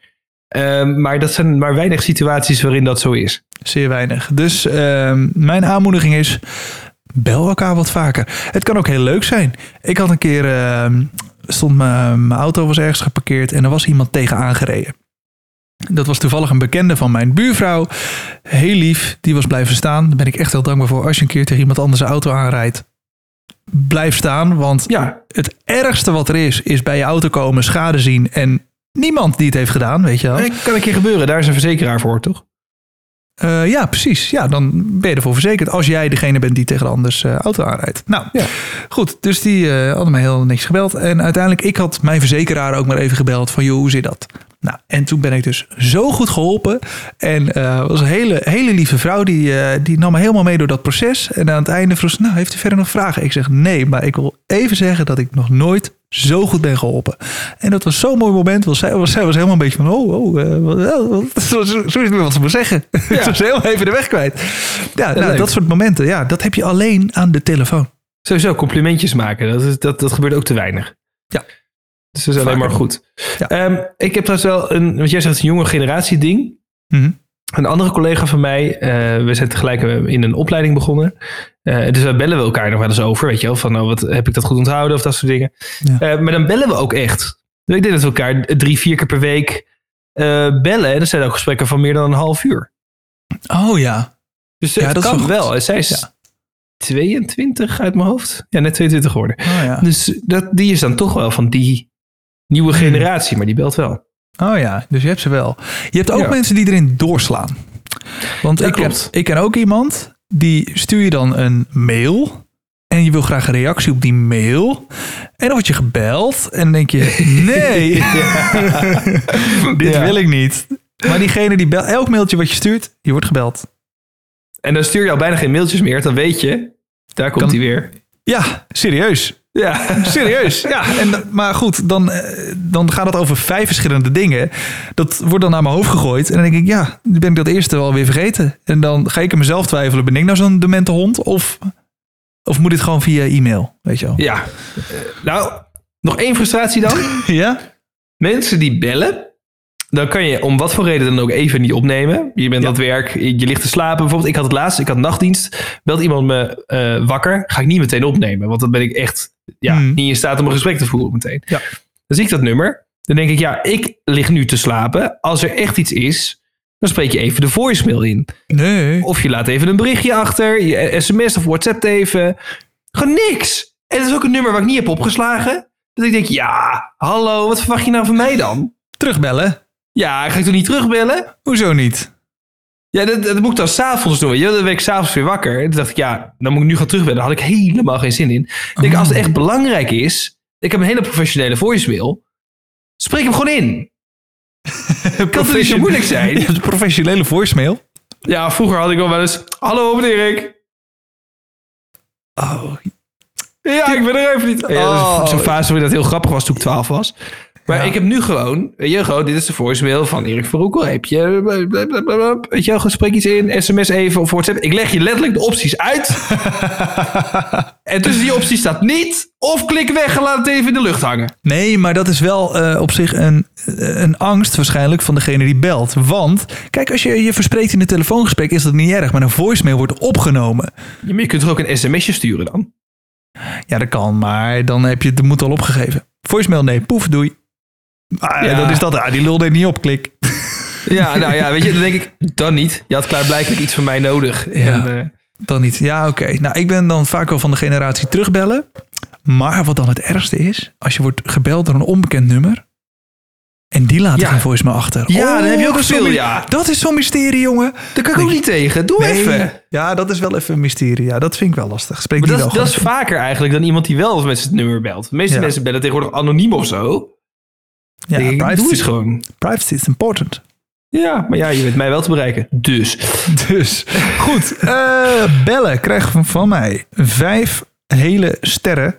Speaker 2: Ehm, maar dat zijn maar weinig situaties waarin dat zo is.
Speaker 1: zeer weinig. Dus ehm, mijn aanmoediging is... Bel elkaar wat vaker. Het kan ook heel leuk zijn. Ik had een keer... ehm, stond mijn mijn auto was ergens geparkeerd... en er was iemand tegen aangereden. Dat was toevallig een bekende van mijn buurvrouw. Heel lief, die was blijven staan. Daar ben ik echt heel dankbaar voor. Als je een keer tegen iemand anders een auto aanrijdt... blijf staan, want
Speaker 2: Ja,
Speaker 1: het ergste wat er is, is bij je auto komen, schade zien en niemand die het heeft gedaan, weet je wel.
Speaker 2: dat kan een keer gebeuren. Daar is een verzekeraar voor, toch?
Speaker 1: Eh, ja, precies. Ja, dan ben je ervoor verzekerd als jij degene bent die tegen de anders eh, auto aanrijdt. Nou,
Speaker 2: Ja.
Speaker 1: goed. Dus die eh hadden mij heel niks gebeld. En uiteindelijk, ik had mijn verzekeraar ook maar even gebeld van, joh, hoe zit dat? Nou, en toen ben ik dus zo goed geholpen. En eh, het was een hele, hele lieve vrouw, die, eh, die nam me helemaal mee door dat proces. En aan het einde vroeg ze, nou, heeft u verder nog vragen? Ik zeg, nee, maar ik wil even zeggen dat ik nog nooit zo goed ben geholpen. En dat was zo'n mooi moment, want zij was, zij was helemaal een beetje van, oh, oh eh, wat, wat, zo, zo zo is [LAUGHS] het weer wat ze maar zeggen.
Speaker 2: Ja.
Speaker 1: Ze was heel even de weg kwijt. Ja, nou,
Speaker 2: leuk.
Speaker 1: dat soort momenten, ja, dat heb je alleen aan de telefoon.
Speaker 2: Sowieso complimentjes maken, dat, is, dat, dat gebeurt ook te weinig.
Speaker 1: Ja.
Speaker 2: Dus dat is alleen
Speaker 1: Vaker.
Speaker 2: maar goed.
Speaker 1: Ja.
Speaker 2: Ehm, ik heb trouwens wel een, want jij zegt een jonge generatie ding.
Speaker 1: Mhm.
Speaker 2: Een andere collega van mij, eh, we zijn tegelijk eh, in een opleiding begonnen. Eh, dus daar bellen we elkaar nog wel eens over, weet je wel. Van, oh, wat, heb ik dat goed onthouden of dat soort dingen.
Speaker 1: Ja.
Speaker 2: Eh, maar dan bellen we ook echt. Dus Ik denk dat we elkaar drie, vier keer per week eh, bellen. En dat zijn ook gesprekken van meer dan een half uur.
Speaker 1: Oh ja.
Speaker 2: Dus
Speaker 1: Ja,
Speaker 2: dat
Speaker 1: dat is wel
Speaker 2: kan
Speaker 1: goed.
Speaker 2: wel. En Zij is
Speaker 1: Ja.
Speaker 2: 22 uit mijn hoofd. Ja, net 22 geworden.
Speaker 1: Oh ja.
Speaker 2: Dus dat, die is dan toch wel van die
Speaker 1: Hmm.
Speaker 2: nieuwe generatie, maar die belt wel.
Speaker 1: Oh ja, dus je hebt ze wel. Je hebt ook
Speaker 2: Ja.
Speaker 1: mensen die erin doorslaan. Want
Speaker 2: Ja,
Speaker 1: ik, ken,
Speaker 2: klopt.
Speaker 1: ik ken ook iemand, die stuur je dan een mail. En je wil graag een reactie op die mail. En dan word je [LAUGHS] gebeld en dan denk je, nee, [LAUGHS] dit
Speaker 2: Ja.
Speaker 1: wil ik niet. Maar diegene die belt, elk mailtje wat je stuurt, die wordt gebeld.
Speaker 2: En dan stuur je al bijna geen mailtjes meer. Dan weet je, daar komt
Speaker 1: Kan-
Speaker 2: hij weer.
Speaker 1: Ja, serieus.
Speaker 2: [LAUGHS] Ja,
Speaker 1: Serieus, ja. En, da- maar goed, dan, eh, dan gaat het over vijf verschillende dingen. Dat wordt dan naar mijn hoofd gegooid. En dan denk ik, ja, nu ben ik dat eerste alweer vergeten. En dan ga ik aan mezelf twijfelen. Ben ik nou zo'n demente hond? Of, of moet dit gewoon via e-mail? Weet je wel.
Speaker 2: Ja. Eh, Nou, nog één frustratie dan.
Speaker 1: Ja?
Speaker 2: Mensen die bellen, dan kan je om wat voor reden dan ook even niet opnemen. Je bent aan het werk, je ligt te slapen. Bijvoorbeeld, ik had het laatst, ik had nachtdienst. Belt iemand me eh, wakker, ga ik niet meteen opnemen. Want dan ben ik echt ja,
Speaker 1: Hmm.
Speaker 2: niet in staat om een gesprek te voeren meteen.
Speaker 1: Ja.
Speaker 2: Dan zie ik dat nummer. Dan denk ik, ja, ik lig nu te slapen. Als er echt iets is, dan spreek je even de voicemail in.
Speaker 1: Nee.
Speaker 2: Of je laat even een berichtje achter, je sms of whatsapp even. Gewoon niks. En dat is ook een nummer waar ik niet heb opgeslagen. Dat ik denk, ja, hallo, wat verwacht je nou van mij dan?
Speaker 1: Terugbellen?
Speaker 2: Ja, ga ik toch niet terugbellen?
Speaker 1: Hoezo niet?
Speaker 2: Ja, dat, dat moet ik dan s'avonds doen. weet je wel. Dan werd ik s'avonds weer wakker. Toen dacht ik, ja, dan moet ik nu gaan terugbellen. Daar had ik helemaal geen zin in. Ik denk, als het echt belangrijk is, ik heb een hele professionele voicemail. Spreek hem gewoon in. Kan het niet zo moeilijk
Speaker 1: [LAUGHS]
Speaker 2: zijn?
Speaker 1: Je hebt een professionele voicemail.
Speaker 2: Ja, vroeger had ik wel wel eens, hallo, meneer Erik.
Speaker 1: Oh,
Speaker 2: Ja, ik ben er even niet. Ja, dat is
Speaker 1: Oh.
Speaker 2: Zo'n fase waarin dat heel grappig was toen ik 12 was. Maar
Speaker 1: Ja.
Speaker 2: ik heb nu gewoon, weet je, gewoon, dit is de voicemail van Erik Verhoekel. Heb je, eh, blablabla, weet je, wel, gewoon spreek iets in, sms even of WhatsApp. Ik leg je letterlijk de opties [LAUGHS] uit. en tussen die opties staat niet, of klik weg en laat het even in de lucht hangen.
Speaker 1: Nee, maar dat is wel eh, op zich een, eh, een angst waarschijnlijk van degene die belt. Want, kijk, als je je verspreekt in een telefoongesprek is dat niet erg. Maar een voicemail wordt opgenomen.
Speaker 2: Ja, maar je kunt toch ook een sms'je sturen dan?
Speaker 1: Ja, dat kan, maar dan heb je de moed al opgegeven. Voicemail, nee, poef, doei. Ah,
Speaker 2: Ja.
Speaker 1: Dat is dat. Ah, die lul deed niet op, klik.
Speaker 2: Ja, nou ja, weet je, dan denk ik, dan niet. Je had klaarblijkelijk iets van mij nodig.
Speaker 1: Ja.
Speaker 2: En, eh,
Speaker 1: Dan niet. Ja, oké. Nou, ik ben dan vaak wel van de generatie terugbellen. Maar wat dan het ergste is, als je wordt gebeld door een onbekend nummer. En die laat
Speaker 2: Ja.
Speaker 1: geen voicemail achter.
Speaker 2: Ja, dan heb je ook
Speaker 1: dat is
Speaker 2: veel,
Speaker 1: zo'n my-
Speaker 2: ja.
Speaker 1: Dat is zo'n mysterie, jongen.
Speaker 2: daar kan ik ook niet tegen. Doe even.
Speaker 1: Ja, dat is wel even een mysterie. Ja, dat vind ik wel lastig. Spreek
Speaker 2: Maar
Speaker 1: die
Speaker 2: dat, is-
Speaker 1: wel
Speaker 2: dat is
Speaker 1: gewoon
Speaker 2: vaker eigenlijk dan iemand die wel met zijn nummer belt. De meeste
Speaker 1: Ja.
Speaker 2: mensen bellen tegenwoordig anoniem of zo.
Speaker 1: even.
Speaker 2: Ja,
Speaker 1: Ja, privacy,
Speaker 2: doe
Speaker 1: is
Speaker 2: eens gewoon.
Speaker 1: privacy is important.
Speaker 2: Ja, maar ja, je bent mij wel te bereiken. Dus.
Speaker 1: [LAUGHS] Dus, goed. eh, bellen krijg van, van mij vijf hele sterren.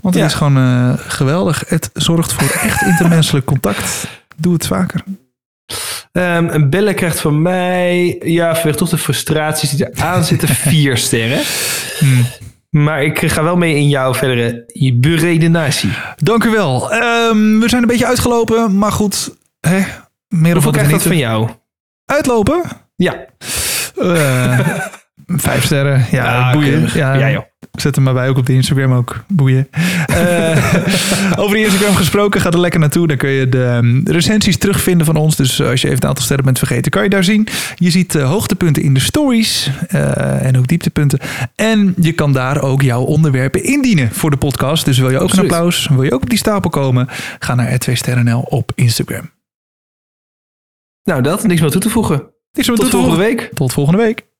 Speaker 1: Want het
Speaker 2: Ja.
Speaker 1: is gewoon eh, geweldig. Het zorgt voor [LAUGHS] echt intermenselijk contact. Doe het vaker.
Speaker 2: Ehm, een bellen krijgt van mij, ja, vanwege toch de frustraties die eraan [LAUGHS] zitten, vier sterren. Hmm. Maar ik ga wel mee in jouw verdere beredenatie.
Speaker 1: Dank u wel. Ehm, we zijn een beetje uitgelopen, maar goed. Hè? Meer of
Speaker 2: Hoeveel
Speaker 1: wat
Speaker 2: krijgt dat
Speaker 1: genieten.
Speaker 2: van jou?
Speaker 1: Uitlopen? [LAUGHS]
Speaker 2: Ja.
Speaker 1: Eh, vijf sterren. Ja,
Speaker 2: Ah,
Speaker 1: boeien.
Speaker 2: keurig. Ja, joh.
Speaker 1: Zet hem maar bij, ook op de Instagram ook. Boeien.
Speaker 2: [LAUGHS]
Speaker 1: Eh, over die Instagram gesproken, ga er lekker naartoe. Dan kun je de ehm, recensies terugvinden van ons. Dus eh, als je even een aantal sterren bent vergeten, kan je daar zien. Je ziet eh, hoogtepunten in de stories eh, en ook dieptepunten. En je kan daar ook jouw onderwerpen indienen voor de podcast. Dus wil je ook
Speaker 2: Absoluut.
Speaker 1: een applaus? Wil je ook op die stapel komen? Ga naar r2sterrenl op Instagram.
Speaker 2: Nou, dat. Niks meer toe te voegen.
Speaker 1: Dit is wat
Speaker 2: Tot
Speaker 1: toe te
Speaker 2: volgende
Speaker 1: voegen.
Speaker 2: week.
Speaker 1: Tot volgende week.